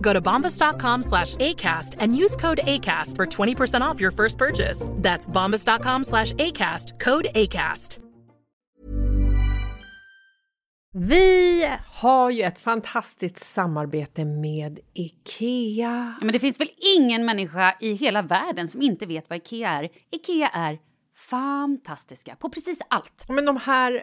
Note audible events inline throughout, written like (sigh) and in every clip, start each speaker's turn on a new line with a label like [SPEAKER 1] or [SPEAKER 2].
[SPEAKER 1] Go to bombas.com slash ACAST and use code ACAST for 20% off your first purchase. That's bombas.com slash ACAST, code ACAST.
[SPEAKER 2] Vi har ju ett fantastiskt samarbete med IKEA.
[SPEAKER 3] Ja, Men det finns väl ingen människa i hela världen som inte vet vad Ikea är. Ikea är fantastiska på precis allt.
[SPEAKER 2] Men de här...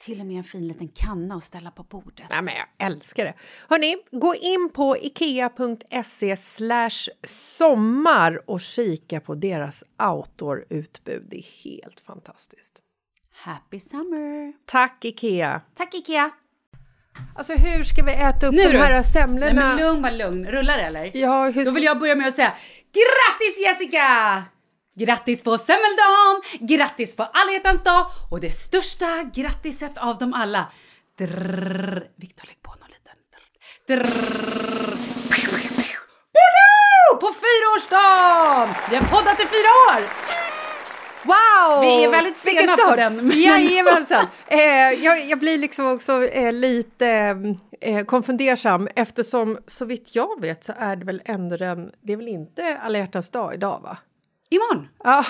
[SPEAKER 3] Till och med en fin liten kanna att ställa på bordet.
[SPEAKER 2] Nej, men jag älskar det. Hörni, gå in på ikea.se sommar och kika på deras outdoor-utbud. Det är helt fantastiskt.
[SPEAKER 3] Happy summer!
[SPEAKER 2] Tack, Ikea.
[SPEAKER 3] Tack Ikea!
[SPEAKER 2] Alltså, hur ska vi äta upp
[SPEAKER 3] Nu
[SPEAKER 2] de
[SPEAKER 3] då?
[SPEAKER 2] här
[SPEAKER 3] Nej
[SPEAKER 2] semlorna?
[SPEAKER 3] men lugn, bara lugn. Rullar det eller?
[SPEAKER 2] Ja, hur
[SPEAKER 3] Då
[SPEAKER 2] ska...
[SPEAKER 3] vill jag börja med att säga grattis Jessica! Grattis på semmeldagen, grattis på alla hjärtans dag och det största grattiset av dem alla. Drrrr. Viktor, lägg på någon liten. Drrrr. Piu, piu, piu. Bono! På fyraårsdagen! Vi har poddat i fyra år!
[SPEAKER 2] Wow!
[SPEAKER 3] Vi är väldigt sena
[SPEAKER 2] Vilken
[SPEAKER 3] på
[SPEAKER 2] start.
[SPEAKER 3] den, men-
[SPEAKER 2] Jajamensan! Eh, jag, jag blir liksom också eh, lite eh, konfundersam eftersom så vitt jag vet så är det väl ändå den... Det är väl inte alla hjärtans dag idag, va?
[SPEAKER 3] Imorgon.
[SPEAKER 2] Ja.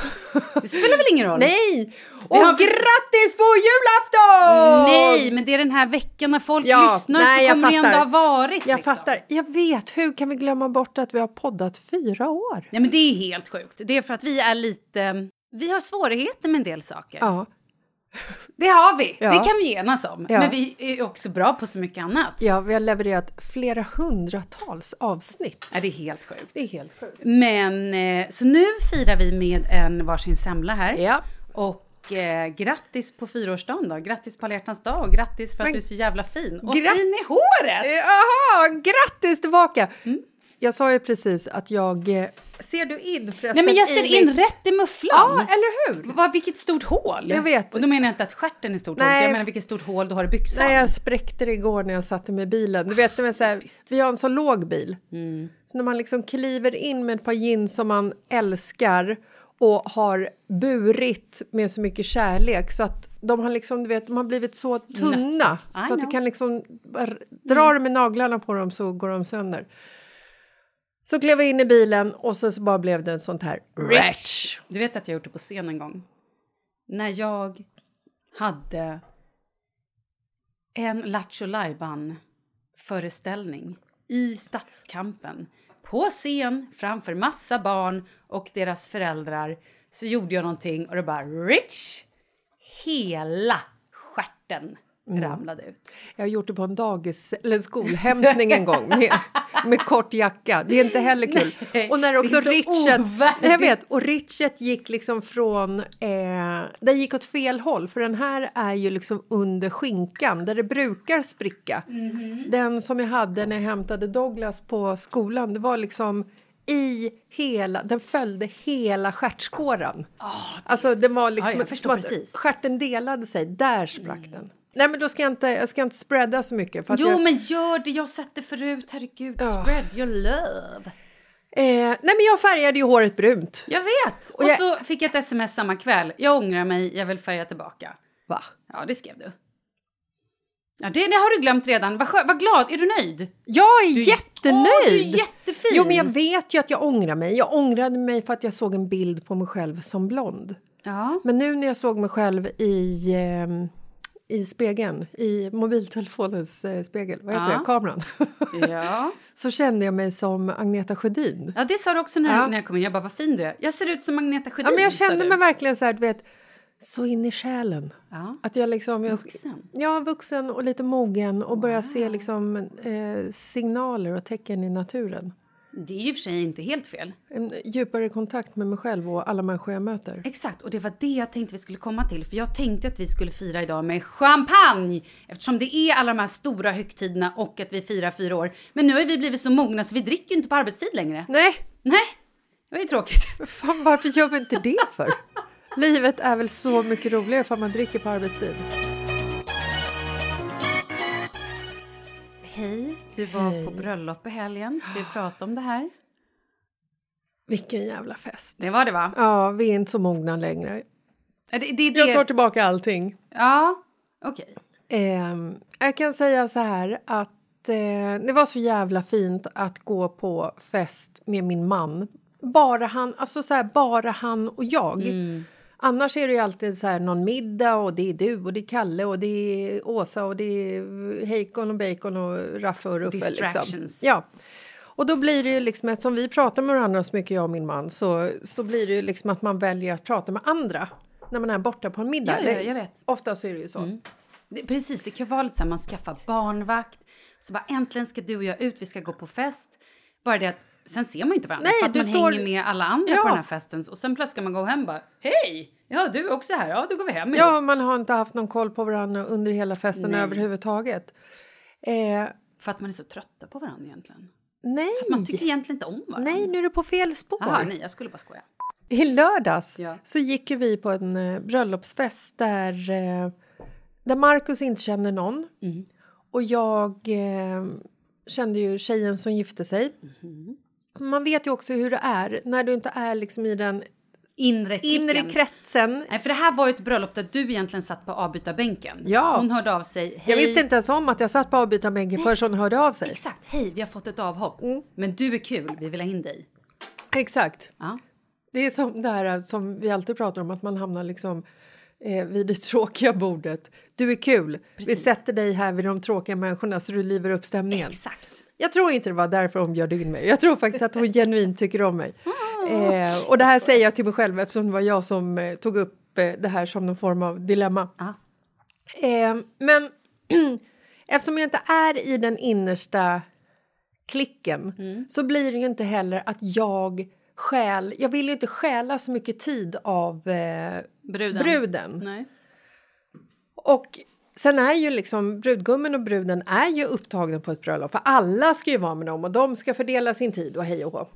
[SPEAKER 3] Det spelar väl ingen roll?
[SPEAKER 2] Nej! Och
[SPEAKER 3] har-
[SPEAKER 2] grattis på julafton!
[SPEAKER 3] Nej, men det är den här veckan när folk lyssnar
[SPEAKER 2] nej,
[SPEAKER 3] så kommer det
[SPEAKER 2] jag
[SPEAKER 3] ändå ha
[SPEAKER 2] fattar.
[SPEAKER 3] varit.
[SPEAKER 2] Jag
[SPEAKER 3] liksom.
[SPEAKER 2] fattar. Jag vet, hur kan vi glömma bort att vi har poddat fyra år?
[SPEAKER 3] Nej, men det är helt sjukt. Det är för att vi är lite... Vi har svårigheter med en del saker.
[SPEAKER 2] Ja,
[SPEAKER 3] Det har vi.
[SPEAKER 2] Ja.
[SPEAKER 3] Det kan vi enas om.
[SPEAKER 2] Ja.
[SPEAKER 3] Men vi är också bra på så mycket annat.
[SPEAKER 2] ja, vi har levererat flera hundratals avsnitt.
[SPEAKER 3] Ja, det är helt sjukt.
[SPEAKER 2] Det är helt sjukt.
[SPEAKER 3] Men eh, så nu firar vi med en varsin semla här.
[SPEAKER 2] Ja.
[SPEAKER 3] Och eh, grattis på fyraårsdagen då. Grattis på alla hjärtans dag och grattis för att
[SPEAKER 2] Men-
[SPEAKER 3] du är så jävla fin. Och
[SPEAKER 2] Gratt-
[SPEAKER 3] fin i håret!
[SPEAKER 2] Jaha, grattis tillbaka! Mm. Jag sa ju precis att jag... eh, Ser du in förresten?
[SPEAKER 3] Nej men jag ser
[SPEAKER 2] i
[SPEAKER 3] in
[SPEAKER 2] mitt-
[SPEAKER 3] rätt i mufflan.
[SPEAKER 2] Ja, eller hur?
[SPEAKER 3] Vad, vilket stort hål!
[SPEAKER 2] Jag vet.
[SPEAKER 3] Och då menar jag inte att stjärten är stort
[SPEAKER 2] Nej.
[SPEAKER 3] hål, jag menar vilket stort hål du har i byxan.
[SPEAKER 2] Nej, jag spräckte det igår när jag satte mig i bilen. Du vet, när man så här, vi har en så låg bil. Så när man liksom kliver in med ett par jeans som man älskar och har burit med så mycket kärlek så att de har liksom, du vet, de har blivit så tunna
[SPEAKER 3] I
[SPEAKER 2] så att du
[SPEAKER 3] know.
[SPEAKER 2] kan liksom bara dra dem med naglarna på dem så går de sönder. Så klev jag in i bilen och så, så bara blev det en sånt här wretch.
[SPEAKER 3] Du vet att jag gjort det på scen en gång. När jag hade en Lattjo föreställning i Stadskampen på scen framför massa barn och deras föräldrar så gjorde jag någonting och det bara rich! Hela stjärten
[SPEAKER 2] Mm.
[SPEAKER 3] ramlade ut.
[SPEAKER 2] Jag har gjort det på en dagis eller en skolhämtning en gång med, med kort jacka. Det är inte heller kul.
[SPEAKER 3] Nej,
[SPEAKER 2] och när också
[SPEAKER 3] det är så
[SPEAKER 2] Richard, Nej, jag vet,
[SPEAKER 3] ovärdigt.
[SPEAKER 2] och Richard gick liksom från, eh, den gick åt fel håll för den här är ju liksom under skinkan där det brukar spricka.
[SPEAKER 3] Mhm.
[SPEAKER 2] Den som jag hade när jag hämtade Douglas på skolan, det var liksom i hela, den följde hela stjärtskåran. alltså den var liksom
[SPEAKER 3] Ah, Ja, jag förstår
[SPEAKER 2] som att
[SPEAKER 3] precis.
[SPEAKER 2] stjärten delade sig, där sprack den. Nej men då ska jag inte, jag ska inte spreada så mycket. För att
[SPEAKER 3] Mm. Jo
[SPEAKER 2] jag,
[SPEAKER 3] men gör det, jag har sett det förut, herregud.
[SPEAKER 2] Ja.
[SPEAKER 3] Spread your love.
[SPEAKER 2] eh, nej men jag färgade ju håret brunt.
[SPEAKER 3] Jag vet! Och,
[SPEAKER 2] jag-
[SPEAKER 3] så fick jag ett sms samma kväll. Jag ångrar mig, jag vill färga tillbaka.
[SPEAKER 2] Va?
[SPEAKER 3] Ja, det skrev du. Ja, det, det har du glömt redan. Vad skö- vad glad. Är du nöjd?
[SPEAKER 2] Jag är jättenöjd!
[SPEAKER 3] Åh, du är jättefin!
[SPEAKER 2] Jo men jag vet ju att jag ångrar mig. Jag ångrade mig för att jag såg en bild på mig själv som blond.
[SPEAKER 3] Ja.
[SPEAKER 2] Men nu när jag såg mig själv i, ehm, i spegeln, i mobiltelefonens eh, spegel, vad heter
[SPEAKER 3] Ja.
[SPEAKER 2] det, kameran.
[SPEAKER 3] Ja.
[SPEAKER 2] (laughs) så kände jag mig som Agneta Sjödin.
[SPEAKER 3] (laughs) ja, det sa du också när,
[SPEAKER 2] Ja.
[SPEAKER 3] när jag kom in. Jag bara, vad fin du är. Jag ser ut som Agneta Sjödin.
[SPEAKER 2] Ja, men jag
[SPEAKER 3] sa
[SPEAKER 2] kände
[SPEAKER 3] du.
[SPEAKER 2] mig verkligen så här, du vet, så in i själen.
[SPEAKER 3] Ja.
[SPEAKER 2] Att jag liksom, jag,
[SPEAKER 3] Vuxen.
[SPEAKER 2] Ja, vuxen och lite mogen och börjar se liksom, eh, signaler och tecken i naturen.
[SPEAKER 3] Det är ju i och för sig inte helt fel.
[SPEAKER 2] En djupare kontakt med mig själv och alla människor jag möter.
[SPEAKER 3] Exakt, och det var det jag tänkte vi skulle komma till. För jag tänkte att vi skulle fira idag med champagne. Eftersom det är alla de här stora högtiderna och att vi firar fyra år. Men nu har vi blivit så mogna så vi dricker ju inte på arbetstid längre.
[SPEAKER 2] Nej,
[SPEAKER 3] Nej, det var ju tråkigt.
[SPEAKER 2] fan, varför gör vi inte det
[SPEAKER 3] (laughs)
[SPEAKER 2] för? Livet är väl så mycket roligare för man dricker på arbetstid.
[SPEAKER 3] Hej, du var på bröllop i helgen. Ska vi prata om det här?
[SPEAKER 2] Vilken jävla fest.
[SPEAKER 3] Det var det va?
[SPEAKER 2] Ja, vi är inte så mogna längre.
[SPEAKER 3] Ja, Det, det, det.
[SPEAKER 2] Jag tar tillbaka allting.
[SPEAKER 3] Ja, okej.
[SPEAKER 2] Ehm, jag kan säga så här att eh, det var så jävla fint att gå på fest med min man. Bara han, alltså så här, bara han och jag.
[SPEAKER 3] Mm.
[SPEAKER 2] Annars är det ju alltid så här någon middag och det är du och det är Kalle och det är Åsa och det är Heikon och Bacon och Raffe och Ruffe. Liksom.
[SPEAKER 3] Distractions.
[SPEAKER 2] Ja. Och då blir det ju liksom, eftersom vi pratar med varandra så mycket jag och min man så, så blir det ju liksom att man väljer att prata med andra när man är borta på en middag.
[SPEAKER 3] Ja, ja, jag vet. Mm.
[SPEAKER 2] Ofta så är det ju så.
[SPEAKER 3] Det, precis, det kan ju vara lite så här, man skaffar barnvakt. Så bara äntligen ska du och jag ut, vi ska gå på fest. Bara det att sen ser man ju inte varandra
[SPEAKER 2] Nej,
[SPEAKER 3] för att
[SPEAKER 2] du
[SPEAKER 3] man
[SPEAKER 2] står-
[SPEAKER 3] hänger med alla andra
[SPEAKER 2] Ja.
[SPEAKER 3] på den här festen. Och sen plötsligt ska man gå hem och bara, hej! Ja, du är också här. Ja, då går vi hem
[SPEAKER 2] Ja,
[SPEAKER 3] ihop.
[SPEAKER 2] man har inte haft någon koll på varandra under hela festen
[SPEAKER 3] Nej.
[SPEAKER 2] överhuvudtaget. Eh,
[SPEAKER 3] För att man är så trötta på varandra egentligen.
[SPEAKER 2] nej.
[SPEAKER 3] Man tycker egentligen inte om varandra.
[SPEAKER 2] nej, nu är du på fel spår.
[SPEAKER 3] Aha, nej, jag skulle bara skoja.
[SPEAKER 2] I lördags
[SPEAKER 3] Ja.
[SPEAKER 2] så gick ju vi på en eh, bröllopsfest där, eh, där Markus inte känner någon.
[SPEAKER 3] Mm.
[SPEAKER 2] Och jag eh, kände ju tjejen som gifte sig.
[SPEAKER 3] Mm-hmm.
[SPEAKER 2] Man vet ju också hur det är när du inte är liksom i den
[SPEAKER 3] Inre klicken.
[SPEAKER 2] inre kretsen.
[SPEAKER 3] Nej, för det här var ju ett bröllop där du egentligen satt på avbytarbänken.
[SPEAKER 2] Ja.
[SPEAKER 3] Hon hörde av sig. Hej.
[SPEAKER 2] Jag visste inte ens om att jag satt på avbytarbänken förrän hon hörde av sig.
[SPEAKER 3] Exakt, hej, vi har fått ett avhopp.
[SPEAKER 2] Mm.
[SPEAKER 3] Men du är kul, vi vill ha in dig.
[SPEAKER 2] Exakt.
[SPEAKER 3] Ja.
[SPEAKER 2] Det är som det här som vi alltid pratar om, att man hamnar liksom eh, vid det (laughs) tråkiga bordet. Du är kul, vi sätter dig här vid de tråkiga människorna så du livar upp stämningen.
[SPEAKER 3] Exakt.
[SPEAKER 2] Jag tror inte det var därför hon bjöd in mig. Jag tror faktiskt att hon genuint tycker om mig. Eh, och det här säger jag till mig själv eftersom det var jag som eh, tog upp eh, det här som någon form av dilemma.
[SPEAKER 3] Ja.
[SPEAKER 2] Eh, men (clears throat) eftersom jag inte är i den innersta klicken
[SPEAKER 3] Mm.
[SPEAKER 2] så blir det ju inte heller att jag stjäl... Jag vill ju inte stjäla så mycket tid av eh,
[SPEAKER 3] Bruden.
[SPEAKER 2] bruden.
[SPEAKER 3] Nej.
[SPEAKER 2] Och sen är ju liksom brudgummen och bruden är ju upptagna på ett bröllop för alla ska ju vara med dem och de ska fördela sin tid och hej och hå.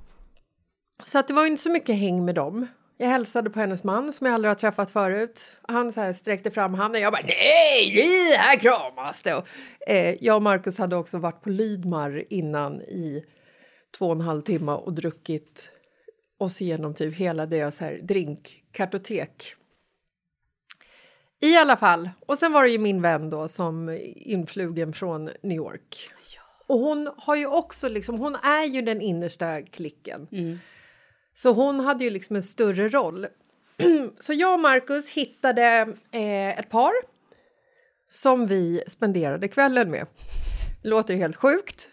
[SPEAKER 2] Så att det var ju inte så mycket häng med dem. Jag hälsade på hennes man som jag aldrig har träffat förut. Han så här sträckte fram handen. Jag bara nej, ni här kramas det. Och, eh, jag och Markus hade också varit på Lydmar innan i två och en halv timme och druckit oss igenom typ hela deras här drinkkartotek. I alla fall. Och sen var det ju min vän då som influgen från New York. Och hon har ju också liksom, hon är ju den innersta klicken. Så hon hade ju liksom en större roll. (clears throat) Så jag och Marcus hittade eh, ett par som vi spenderade kvällen med. Låter helt sjukt,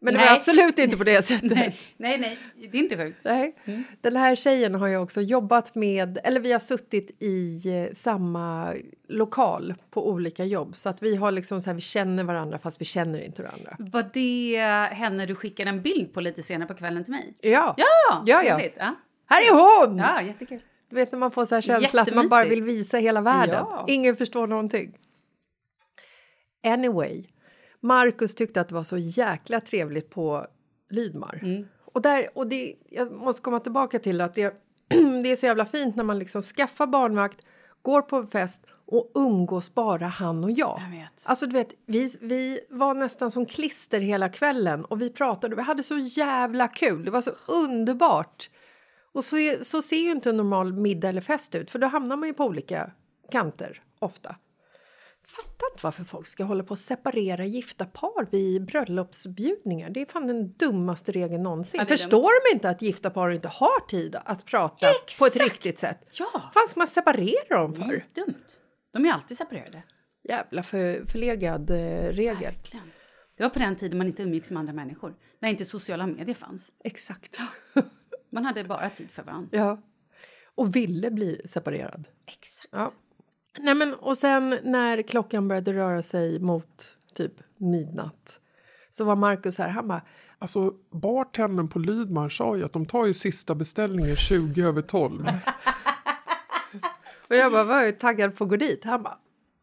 [SPEAKER 2] men det var
[SPEAKER 3] Nej.
[SPEAKER 2] absolut inte på (laughs) det sättet.
[SPEAKER 3] Nej, Mm. nej, nej, det är inte sjukt.
[SPEAKER 2] Nej. Den här tjejen har jag också jobbat med, eller vi har suttit i eh, samma lokal på olika jobb så att vi har liksom så här, vi känner varandra fast vi känner inte varandra.
[SPEAKER 3] Var det henne du skickade en bild på lite senare på kvällen till mig?
[SPEAKER 2] Ja,
[SPEAKER 3] Ja,
[SPEAKER 2] ja, ja.
[SPEAKER 3] trevligt. Ja.
[SPEAKER 2] Här är hon!
[SPEAKER 3] ja, jättekul.
[SPEAKER 2] Du vet när man får så här känsla att man bara vill
[SPEAKER 3] Jättemysigt.
[SPEAKER 2] visa hela världen.
[SPEAKER 3] Ja.
[SPEAKER 2] Ingen förstår någonting. Anyway, Marcus tyckte att det var så jäkla trevligt på Lydmar.
[SPEAKER 3] Mm.
[SPEAKER 2] Och, där, och det, jag måste komma tillbaka till att det, (clears throat) det är så jävla fint när man liksom skaffar barnvakt, går på en fest och umgås bara han och jag.
[SPEAKER 3] Jag vet.
[SPEAKER 2] Alltså du vet, vi, vi var nästan som klister hela kvällen och vi pratade och vi hade så jävla kul. Det var så underbart. Och så, är- så ser ju inte en normal middag eller fest ut, för då hamnar man ju på olika kanter ofta. Fattar inte varför folk ska hålla på och separera gifta par vid bröllopsbjudningar. Det är fan den dummaste regeln någonsin.
[SPEAKER 3] Ja, det är
[SPEAKER 2] Förstår de inte att gifta par inte har tid att prata på ett riktigt sätt?
[SPEAKER 3] Ja.
[SPEAKER 2] Vad ska man separera dem för?
[SPEAKER 3] Dumt. De är alltid separerade.
[SPEAKER 2] Jävla för, förlegad eh, regel.
[SPEAKER 3] Verkligen. Det var på den tiden man inte umgicks med andra människor. När inte sociala medier fanns.
[SPEAKER 2] Exakt. (laughs)
[SPEAKER 3] Man hade bara tid för varandra.
[SPEAKER 2] ja. Och ville bli separerad.
[SPEAKER 3] Exakt.
[SPEAKER 2] Ja. Nej, men, och sen när klockan började röra sig mot typ midnatt så var Markus här, han bara
[SPEAKER 4] Alltså, bartendern på Lydmar sa ju att de tar ju sista beställningen 20 över 12.
[SPEAKER 2] Och jag bara, var ju taggad på att gå dit. Han bara,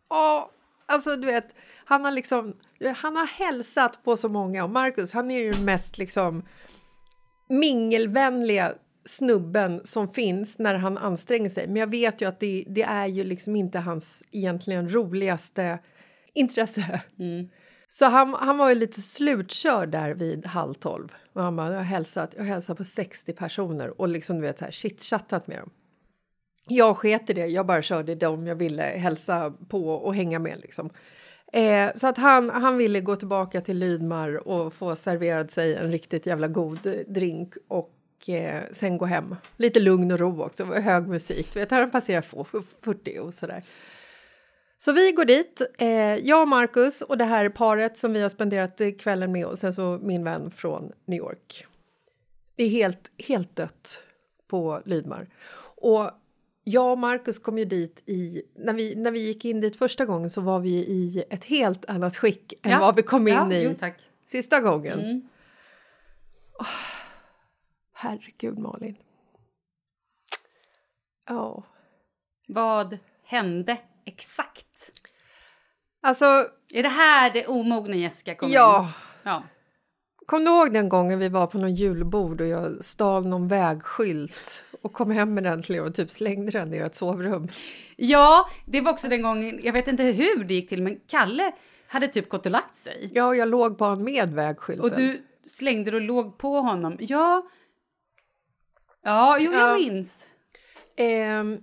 [SPEAKER 2] ja. Alltså du vet, han har liksom, du vet, han har hälsat på så många och Marcus, han är ju den mest liksom mingelvänliga snubben som finns när han anstränger sig. Men jag vet ju att det, det är ju liksom inte hans egentligen roligaste intresse. Så han, han var ju lite slutkörd där vid halv tolv. Och han bara, jag har hälsat, jag har hälsat på 60 personer och liksom du vet så här chitchattat med dem. Jag sket i det, jag bara körde dem jag ville hälsa på och hänga med. Liksom. Eh, så att han, han ville gå tillbaka till Lydmar och få serverad sig en riktigt jävla god eh, drink och eh, sen gå hem. Lite lugn och ro också, hög musik. Du vet, han passerar få- 40 och sådär. Så vi går dit, eh, jag och Marcus och det här paret som vi har spenderat eh, kvällen med och sen så min vän från New York. Det är helt, helt dött på Lydmar. Och jag och Marcus kom ju dit i... När vi, när vi gick in dit första gången så var vi i ett helt annat skick än
[SPEAKER 3] Ja.
[SPEAKER 2] vad vi kom in
[SPEAKER 3] Ja,
[SPEAKER 2] i
[SPEAKER 3] jo, tack. Mm.
[SPEAKER 2] sista gången. Åh, herregud, Malin. Ja.
[SPEAKER 3] Vad hände exakt?
[SPEAKER 2] Alltså,
[SPEAKER 3] Är det här det omogna Jessica kommer
[SPEAKER 2] ja.
[SPEAKER 3] in? Ja.
[SPEAKER 2] Kom du ihåg den gången vi var på någon julbord och jag stal någon vägskylt och kom hem med den till er och typ slängde den i ert sovrum?
[SPEAKER 3] Ja, det var också den gången, jag vet inte hur det gick till, men Kalle hade typ gått och lagt sig.
[SPEAKER 2] Ja, jag låg på en med vägskylten.
[SPEAKER 3] Och du slängde och låg på honom. Ja, ja jo, jag
[SPEAKER 2] Ja. minns.
[SPEAKER 3] minns.
[SPEAKER 2] Ehm,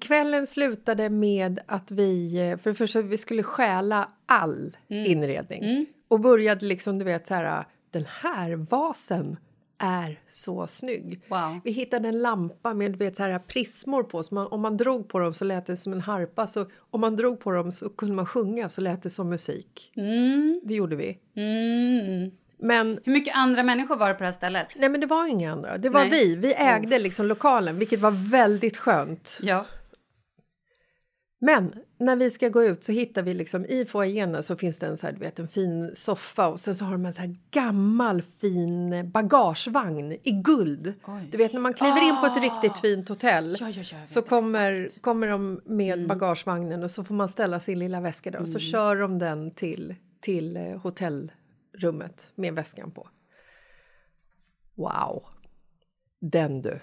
[SPEAKER 2] kvällen slutade med att vi, eh, för det första, vi skulle stjäla all
[SPEAKER 3] Mm.
[SPEAKER 2] inredning. Och började liksom, du vet så här, den här vasen är så snygg.
[SPEAKER 3] Wow.
[SPEAKER 2] Vi hittade en lampa med du vet, så här, prismor på, så man, om man drog på dem så lät det som en harpa. Så om man drog på dem så kunde man sjunga, så lät det som musik.
[SPEAKER 3] Mm.
[SPEAKER 2] Det gjorde vi. Men
[SPEAKER 3] Hur mycket andra människor var det på det här stället?
[SPEAKER 2] Nej, men det var inga andra. Det var
[SPEAKER 3] Nej. Mm.
[SPEAKER 2] vi. Vi ägde liksom lokalen, vilket var väldigt skönt.
[SPEAKER 3] Ja.
[SPEAKER 2] Men när vi ska gå ut så hittar vi liksom i foajén så finns det en så här, du vet, en fin soffa och sen så har de en så här gammal fin bagagevagn i guld. Du vet när man kliver in på ett riktigt fint hotell
[SPEAKER 3] Ah. Ja, ja, ja, Mm. jag vet
[SPEAKER 2] så kommer, kommer de med bagagevagnen och så får man ställa sin lilla väska där och
[SPEAKER 3] Mm.
[SPEAKER 2] så kör de den till, till eh, hotellrummet med väskan på. Wow! Den du!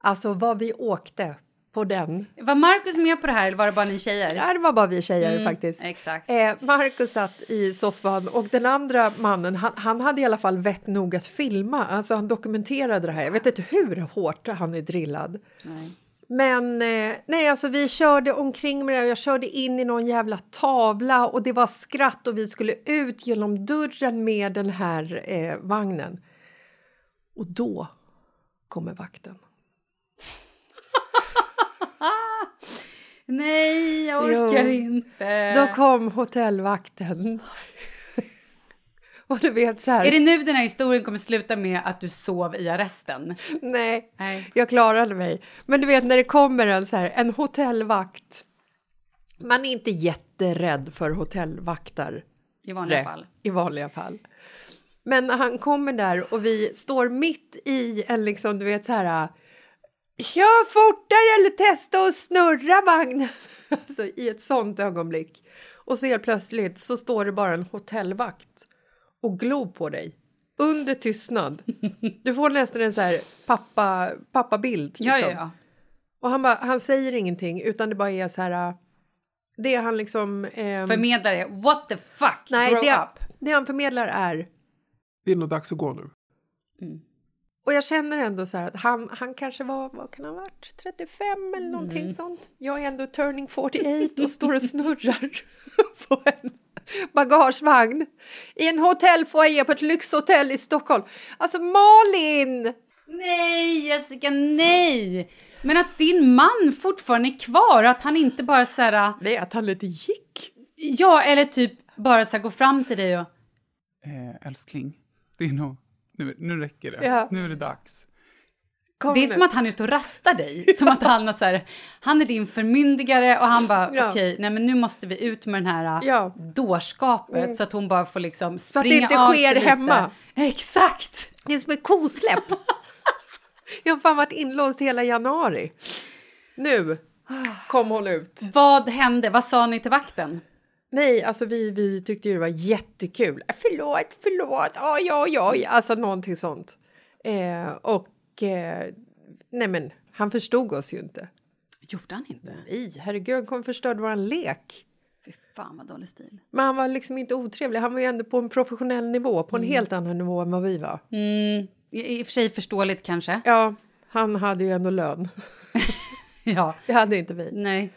[SPEAKER 2] Alltså vad vi åkte på den.
[SPEAKER 3] Var Markus med på det här eller var det bara ni tjejer? Mm,
[SPEAKER 2] Ja, det var bara vi tjejer faktiskt.
[SPEAKER 3] exakt.
[SPEAKER 2] Eh, Marcus satt i soffan och den andra mannen, han, han hade i alla fall vett nog att filma. Alltså han dokumenterade det här. Jag vet inte hur hårt han är drillad. Men eh, nej, alltså vi körde omkring med det här. Jag körde in i någon jävla tavla och det var skratt och vi skulle ut genom dörren med den här eh, vagnen. Och då kommer vakten.
[SPEAKER 3] Nej, jag orkar
[SPEAKER 2] Jo.
[SPEAKER 3] inte.
[SPEAKER 2] Då kom hotellvakten. och du vet så här.
[SPEAKER 3] Är det nu den här historien kommer sluta med att du sov i arresten?
[SPEAKER 2] Nej,
[SPEAKER 3] Nej.
[SPEAKER 2] jag klarade mig. Men du vet när det kommer en, så här, en hotellvakt. Man är inte jätterädd för hotellvaktar
[SPEAKER 3] I vanliga fall.
[SPEAKER 2] i vanliga fall. Men när han kommer där och vi står mitt i en liksom, du vet så här. Kör fortare eller testa att snurra vagnen. (laughs) Alltså i ett sånt ögonblick. Och så helt plötsligt så står det bara en hotellvakt och glor på dig. Under
[SPEAKER 3] (laughs)
[SPEAKER 2] tystnad. Du får nästan en så här pappa, pappabild.
[SPEAKER 3] Ja, ja,
[SPEAKER 2] liksom.
[SPEAKER 3] ja.
[SPEAKER 2] Och han, bara, han säger ingenting utan det bara är så här. äh, Det han liksom... ehm,
[SPEAKER 3] Förmedlare, what the fuck,
[SPEAKER 2] nej,
[SPEAKER 3] grow
[SPEAKER 2] det,
[SPEAKER 3] up.
[SPEAKER 2] det han förmedlar är
[SPEAKER 4] Det är nog dags att gå nu.
[SPEAKER 2] Och jag känner ändå så här att han, han kanske var, vad kan han ha varit, 35 eller någonting
[SPEAKER 3] Mm.
[SPEAKER 2] sånt. Jag är ändå turning 48 och står och snurrar (laughs) på en bagagevagn i en hotellfoajé på ett lyxhotell i Stockholm. Alltså Malin!
[SPEAKER 3] Nej, Jessica, nej! Men att din man fortfarande är kvar och att han inte bara så här,
[SPEAKER 2] Det är att han inte gick.
[SPEAKER 3] ja, eller typ bara så här, går fram till dig och
[SPEAKER 5] Eh, älskling, det är nog... Nu, nu räcker det.
[SPEAKER 2] Ja.
[SPEAKER 5] Nu är det dags.
[SPEAKER 2] Kom
[SPEAKER 3] Det är
[SPEAKER 2] nu.
[SPEAKER 3] som att han är ute och rastar dig. Som att han, är så här, han är din förmyndigare och han bara,
[SPEAKER 2] Ja.
[SPEAKER 3] okej, nej men nu måste vi ut med den här äh,
[SPEAKER 2] Ja. Mm.
[SPEAKER 3] dårskapet så att hon bara får liksom
[SPEAKER 2] att det
[SPEAKER 3] springa
[SPEAKER 2] inte
[SPEAKER 3] av
[SPEAKER 2] sker
[SPEAKER 3] sig lite.
[SPEAKER 2] hemma.
[SPEAKER 3] Exakt!
[SPEAKER 2] Det är som ett kosläpp. jag har fan varit inlåst hela januari. Nu kom hon ut.
[SPEAKER 3] Vad hände? Vad sa ni till vakten?
[SPEAKER 2] Nej, alltså vi, vi tyckte ju det var jättekul. Äh, Förlåt, förlåt, oj, oj, oj. Alltså någonting sånt. Eh, och eh, nej men, han förstod oss ju inte.
[SPEAKER 3] Gjorde han inte?
[SPEAKER 2] Nej, herregud, han kom och förstörde våran lek.
[SPEAKER 3] Fy fan vad dålig stil.
[SPEAKER 2] Men han var liksom inte otrevlig. Han var ju ändå på en professionell nivå, på en helt annan nivå än vad vi var.
[SPEAKER 3] I, I och för sig förståeligt kanske. (laughs)
[SPEAKER 2] Ja, han hade ju ändå lön.
[SPEAKER 3] Ja.
[SPEAKER 2] Det hade inte vi.
[SPEAKER 3] Nej.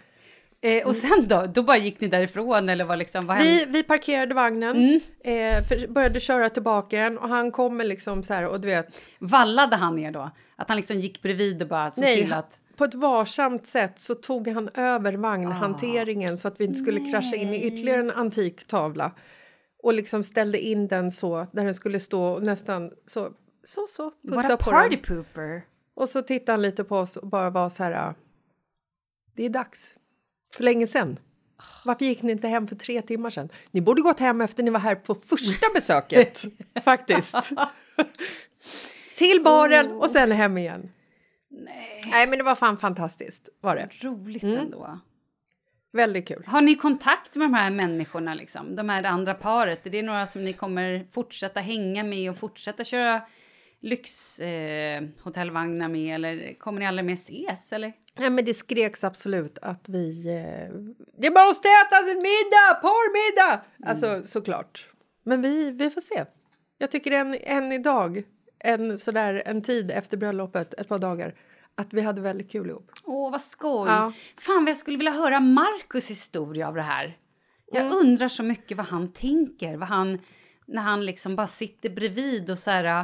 [SPEAKER 3] Eh, och sen då? Då bara gick ni därifrån eller vad liksom, vad hände?
[SPEAKER 2] Mm. Vi, vi parkerade vagnen, eh, för, började köra tillbaka den och han kommer liksom så här och du vet.
[SPEAKER 3] Vallade han er då? Att han liksom gick bredvid och bara såg till att...
[SPEAKER 2] på ett varsamt sätt så tog han över vagnhanteringen så att vi inte skulle
[SPEAKER 3] Ah.
[SPEAKER 2] krascha in i ytterligare en antik tavla och liksom ställde in den så där den skulle stå och nästan så så så
[SPEAKER 3] What a
[SPEAKER 2] putta på
[SPEAKER 3] party
[SPEAKER 2] den.
[SPEAKER 3] pooper.
[SPEAKER 2] Och så tittade han lite på oss och bara var så här. "Ah, Det är dags. För länge sen. Varför gick ni inte hem för tre timmar sen? Ni borde gått hem efter ni var här på första besöket faktiskt. Till baren och sen hem igen. Nej. Nej, men det var fan fantastiskt var det.
[SPEAKER 3] Roligt
[SPEAKER 2] Mm.
[SPEAKER 3] ändå.
[SPEAKER 2] Väldigt kul.
[SPEAKER 3] Har ni kontakt med de här människorna, liksom? de här andra paret? Är det några som ni kommer fortsätta hänga med och fortsätta köra lyxhotellvagnar eh, hotellvagnar med? Eller kommer ni aldrig mer ses? Eller?
[SPEAKER 2] Nej, men det skreks absolut att vi... Eh, det måste ätas en middag! Porrmiddag! Alltså, såklart. Men vi, vi får se. Jag tycker än, än idag, en, sådär, en tid efter bröllopet, ett par dagar att vi hade väldigt kul ihop.
[SPEAKER 3] Åh, vad skoj!
[SPEAKER 2] Ja.
[SPEAKER 3] Fan, vad jag skulle vilja höra Markus historia av det här. Jag undrar så mycket vad han tänker, vad han, när han liksom bara sitter bredvid och så här, äh,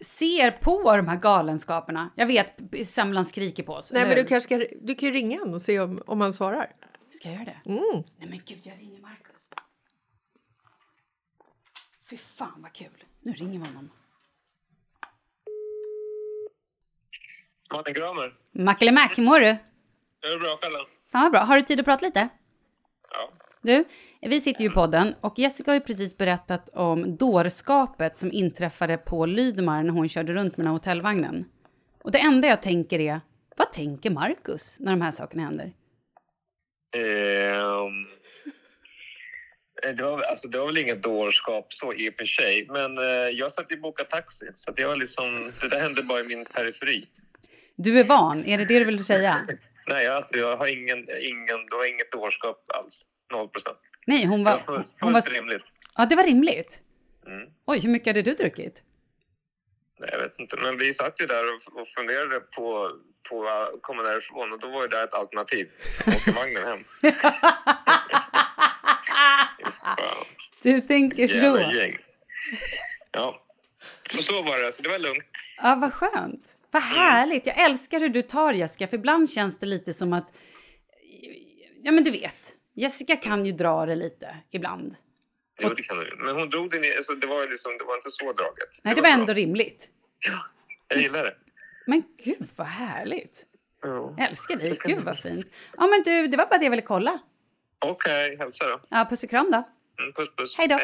[SPEAKER 3] ser på de här galenskaperna. Jag vet, semlan skriker på oss.
[SPEAKER 2] Nej,
[SPEAKER 3] eller
[SPEAKER 2] men du,
[SPEAKER 3] hur?
[SPEAKER 2] kanske ska, du kan ju ringa honom och se om, om han svarar.
[SPEAKER 3] Ska jag göra det?
[SPEAKER 2] Mm.
[SPEAKER 3] Nej men gud, jag ringer Markus. Fy fan vad kul. Nu ringer vi honom.
[SPEAKER 6] Martin Kramer.
[SPEAKER 3] Mackelimack, hur mår du?
[SPEAKER 6] Är det bra själv?
[SPEAKER 3] Fan vad bra. Har du tid att prata lite?
[SPEAKER 6] Ja.
[SPEAKER 3] Du, vi sitter ju i podden och Jessica har ju precis berättat om dårskapet som inträffade på Lydmar när hon körde runt med den här hotellvagnen. Och det enda jag tänker är, vad tänker Markus när de här sakerna händer?
[SPEAKER 6] Ehm, det, var, alltså, det var väl inget dårskap så i och för sig. Men eh, jag satt ju och bokade taxi. Så att jag var liksom, det där hände bara i min periferi.
[SPEAKER 3] Du är van, är det det du vill säga?
[SPEAKER 6] Nej, alltså, jag har ingen, ingen, det var inget dårskap alls. Noll procent.
[SPEAKER 3] Nej, hon var...
[SPEAKER 6] Det var fullt,
[SPEAKER 3] hon var
[SPEAKER 6] fullt rimligt.
[SPEAKER 3] Ja, det var rimligt.
[SPEAKER 6] Mm.
[SPEAKER 3] Oj, hur mycket hade du druckit?
[SPEAKER 6] Nej, jag vet inte, men vi satt ju där och, och funderade på, på att komma därifrån och då var ju det ett alternativ. Åka vagnen hem.
[SPEAKER 3] Du tänker
[SPEAKER 6] Jävla
[SPEAKER 3] så.
[SPEAKER 6] gäng. Ja. Så, så var det, så det var lugnt.
[SPEAKER 3] Ja, vad skönt. Vad
[SPEAKER 6] Mm.
[SPEAKER 3] härligt. Jag älskar hur du tar Jessica, för ibland känns det lite som att... Ja, men du vet. Jessica kan ju dra det lite ibland.
[SPEAKER 6] Jo, det kan du. Men hon drog den i, alltså, det var ju liksom, det var inte så draget.
[SPEAKER 3] Nej, det var
[SPEAKER 6] bra.
[SPEAKER 3] ändå rimligt.
[SPEAKER 6] Jag gillar det.
[SPEAKER 3] Men gud, vad härligt.
[SPEAKER 6] Ja.
[SPEAKER 3] Jag älskar dig. Gud, vad fint. Ja, men du, det var bara det jag ville kolla.
[SPEAKER 6] Okej, hälsa då.
[SPEAKER 3] Ja, puss och kram då.
[SPEAKER 6] Mm, Puss, puss.
[SPEAKER 3] Hej då.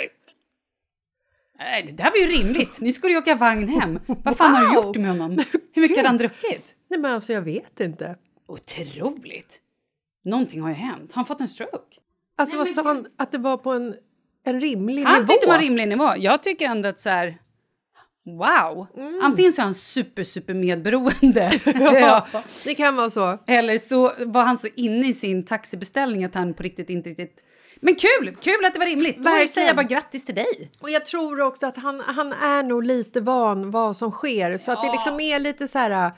[SPEAKER 3] Nej, det där var ju rimligt. Ni skulle ju åka vagn hem. Vad fan har du
[SPEAKER 2] Wow!
[SPEAKER 3] gjort med honom? Hur mycket hade han druckit?
[SPEAKER 2] Nej, men alltså jag vet inte.
[SPEAKER 3] Otroligt! Någonting har ju hänt. Har han fått en stroke?
[SPEAKER 2] Alltså vad sa han? Att det var på en, en rimlig
[SPEAKER 3] Han
[SPEAKER 2] nivå?
[SPEAKER 3] tyckte det var rimlig nivå. Jag tycker ändå att så här... Wow!
[SPEAKER 2] Mm.
[SPEAKER 3] Antingen så är han super,
[SPEAKER 2] (laughs)
[SPEAKER 3] super medberoende. (laughs)
[SPEAKER 2] Ja, det kan vara så.
[SPEAKER 3] Eller så var han så inne i sin taxibeställning att han på riktigt inte riktigt... Men kul! Kul att det var rimligt. Då
[SPEAKER 2] Verkligen.
[SPEAKER 3] säger jag bara grattis till dig.
[SPEAKER 2] Och jag tror också att han, han är nog lite van vad som sker. Så att det liksom är lite så här...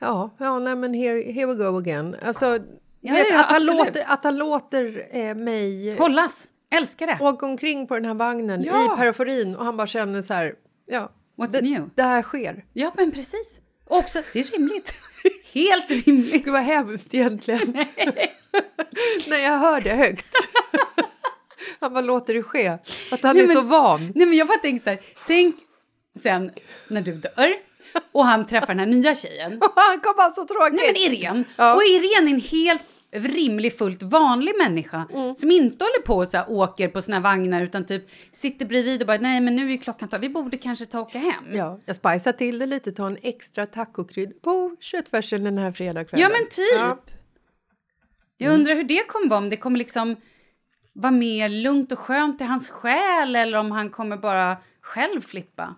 [SPEAKER 2] Ja, ja nej men here, here we go again. Alltså,
[SPEAKER 3] Ja,
[SPEAKER 2] vet,
[SPEAKER 3] ja,
[SPEAKER 2] att, han
[SPEAKER 3] absolut.
[SPEAKER 2] låter, att han låter eh, mig
[SPEAKER 3] Hållas! Älskar det.
[SPEAKER 2] åka omkring på den här vagnen
[SPEAKER 3] Ja.
[SPEAKER 2] i periferin och han bara känner så här... Ja,
[SPEAKER 3] What's
[SPEAKER 2] det,
[SPEAKER 3] new?
[SPEAKER 2] det här sker.
[SPEAKER 3] Ja, men precis. Och Också, det är rimligt. (laughs) Helt rimligt.
[SPEAKER 2] Gud, vad hemskt
[SPEAKER 3] (laughs)
[SPEAKER 2] egentligen. (laughs) När jag hör det högt. Han bara låter det ske. Att han
[SPEAKER 3] Nej,
[SPEAKER 2] är
[SPEAKER 3] men-
[SPEAKER 2] så van.
[SPEAKER 3] Nej, men jag bara tänker så här, tänk sen när du dör och han träffar den här nya tjejen.
[SPEAKER 2] (laughs) Han kommer vara så tråkigt.
[SPEAKER 3] Nej, men Irene.
[SPEAKER 2] Ja.
[SPEAKER 3] Och Irene är en helt rimlig, fullt vanlig människa
[SPEAKER 2] Mm.
[SPEAKER 3] som inte håller på och så här, åker på sina vagnar utan typ sitter bredvid och bara nej, men nu är klockan tolv, vi borde kanske ta och åka hem.
[SPEAKER 2] Ja, jag spicear till det lite, tar en extra tacokrydd på köttfärsen den här fredagskvällen.
[SPEAKER 3] Ja, men typ.
[SPEAKER 2] Mm.
[SPEAKER 3] Jag undrar hur det kommer vara, om det kommer liksom vara mer lugnt och skönt i hans själ eller om han kommer bara själv flippa.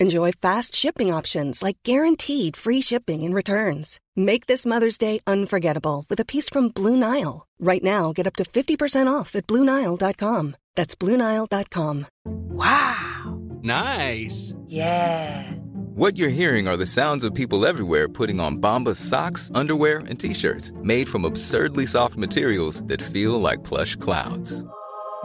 [SPEAKER 7] Enjoy fast shipping options like guaranteed free shipping and returns. Make this Mother's Day unforgettable with a piece from Blue Nile. Right now, get up to 50% off at BlueNile.com. That's BlueNile.com.
[SPEAKER 8] Nice.
[SPEAKER 9] What you're hearing are the sounds of people everywhere putting on Bombas socks, underwear, and t-shirts made from absurdly soft materials that feel like plush clouds.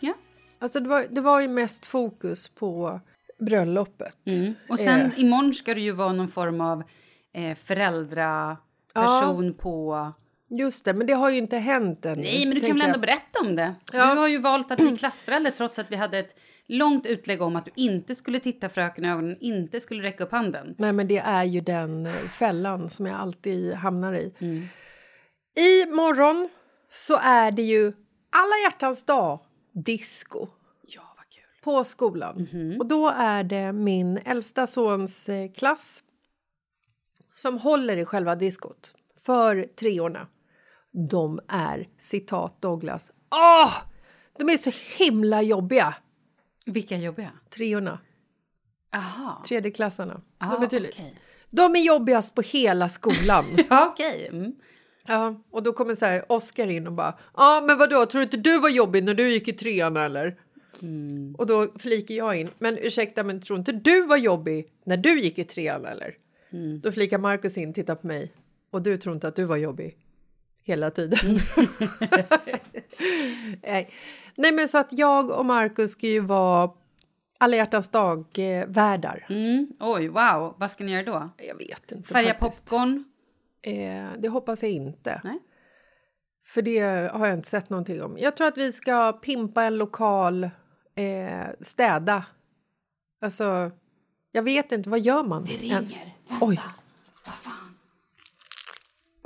[SPEAKER 3] Ja.
[SPEAKER 2] alltså det var, det var ju mest fokus på bröllopet.
[SPEAKER 3] Mm. Och sen
[SPEAKER 2] Eh,
[SPEAKER 3] imorgon ska det ju vara någon form av eh, föräldraperson på...
[SPEAKER 2] Just det, men det har ju inte hänt än.
[SPEAKER 3] Nej, men du kan väl ändå berätta om det? Du har ju valt att bli klassförälder trots att vi hade ett långt utlägg om att du inte skulle titta fröken i ögonen, inte skulle räcka upp handen.
[SPEAKER 2] Nej, men det är ju den eh, fällan som jag alltid hamnar i. I morgon så är det ju alla hjärtans dag, disco. På skolan. Och då är det min äldsta sons eh, klass som håller i själva diskot för treorna. De är, citat Douglas, åh! De är så himla jobbiga,
[SPEAKER 3] Vilka jobbiga?
[SPEAKER 2] treorna. (laughs)
[SPEAKER 3] Aha.
[SPEAKER 2] Tredjeklassarna.
[SPEAKER 3] Ah,
[SPEAKER 2] de, är tydlig.
[SPEAKER 3] okej.
[SPEAKER 2] de är jobbigast på hela
[SPEAKER 3] (laughs)
[SPEAKER 2] skolan.
[SPEAKER 3] ja, okej. Mm.
[SPEAKER 2] Ja, och då kommer så här Oscar in och bara ja men vadå tror du inte du var jobbig när du gick i trean eller?
[SPEAKER 3] Mm.
[SPEAKER 2] Och då flikar jag in men ursäkta men tror inte du var jobbig när du gick i trean eller?
[SPEAKER 3] Mm.
[SPEAKER 2] Då flikar Marcus in tittar på mig och du tror inte att du var jobbig hela tiden.
[SPEAKER 3] Mm.
[SPEAKER 2] (laughs) Nej. Nej men så att jag och Marcus ska ju vara alla hjärtans dag eh, värdar.
[SPEAKER 3] Mm. Oj, wow. Vad ska ni göra då?
[SPEAKER 2] Jag vet inte
[SPEAKER 3] Färga
[SPEAKER 2] faktiskt.
[SPEAKER 3] popcorn?
[SPEAKER 2] Eh, det hoppas jag inte.
[SPEAKER 3] Nej.
[SPEAKER 2] För det har jag inte sett någonting om. Jag tror att vi ska pimpa en lokal, eh, städa. Alltså, jag vet inte, vad gör man? Det ringer. Oj.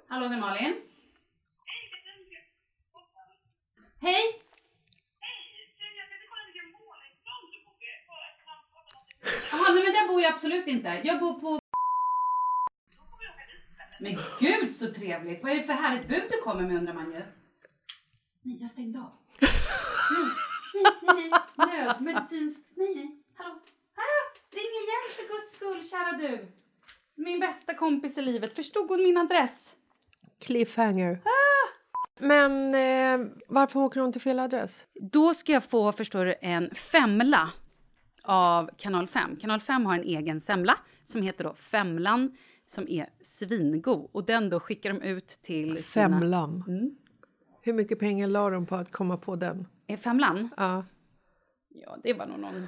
[SPEAKER 3] Hallå, det är Malin. Hej! Jaha, nej men där bor jag absolut inte. Jag bor på... Men gud så trevligt! Vad är det för härligt bud du kommer med undrar man ju. Nej, jag stängde av. Nej, nej, nej. Nödmedicinsk... Nej, nej. Hallå? Ah, ring igen för guds skull, kära du. Min bästa kompis i livet. Förstod hon min adress?
[SPEAKER 2] Cliffhanger.
[SPEAKER 3] Ah!
[SPEAKER 2] Men eh, varför åker hon till fel adress?
[SPEAKER 3] Då ska jag få, förstår du, en femla av Kanal 5. Kanal 5 har en egen semla som heter då Femlan som är svingod. Och den då skickar de ut till sina- Mm.
[SPEAKER 2] Femlan. Hur mycket pengar la de på att komma på den?
[SPEAKER 3] Eh, femlan?
[SPEAKER 2] Ja.
[SPEAKER 3] Ja, det var nog någon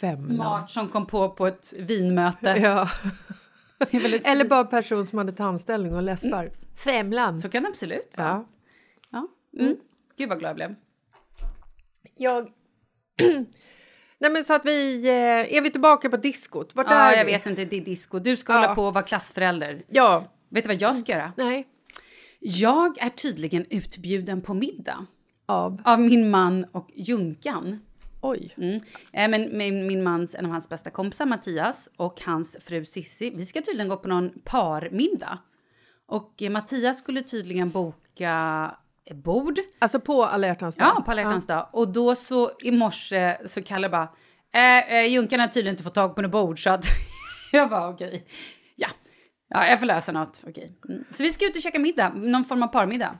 [SPEAKER 2] Femlan.
[SPEAKER 3] smart som kom på på ett vinmöte.
[SPEAKER 2] Ja.
[SPEAKER 3] (laughs) Det Mm. är väl ett-
[SPEAKER 2] Eller bara en person som hade tandställning och läspar. Femlan.
[SPEAKER 3] Så kan det absolut vara.
[SPEAKER 2] Ja.
[SPEAKER 3] Ja. Mm. Gud vad glad jag blev.
[SPEAKER 2] Jag... (clears throat) Nej, men så att vi... Eh, är vi tillbaka på diskot? Vart är
[SPEAKER 3] Ja, jag
[SPEAKER 2] vi?
[SPEAKER 3] vet inte, det är disco. Du ska
[SPEAKER 2] Ja.
[SPEAKER 3] hålla på och vara klassförälder.
[SPEAKER 2] Ja.
[SPEAKER 3] Vet du vad jag ska göra?
[SPEAKER 2] Nej.
[SPEAKER 3] Jag är tydligen utbjuden på middag.
[SPEAKER 2] Av?
[SPEAKER 3] Av min man och Junkan.
[SPEAKER 2] Oj.
[SPEAKER 3] Mm. Eh, men min, min mans, en av hans bästa kompisar, Mattias, och hans fru Sissi. Vi ska tydligen gå på någon parmiddag. Och eh, Mattias skulle tydligen boka eh, bord.
[SPEAKER 2] Alltså på alla hjärtans dag?
[SPEAKER 3] Ja, på alla hjärtans dag. Och då så i morse så Kalle bara, eh, eh, Junkan har tydligen inte fått tag på något bord så att (laughs) jag bara okej, ja. ja, jag får lösa något. Okej. Mm. Så vi ska ut och käka middag, någon form av parmiddag.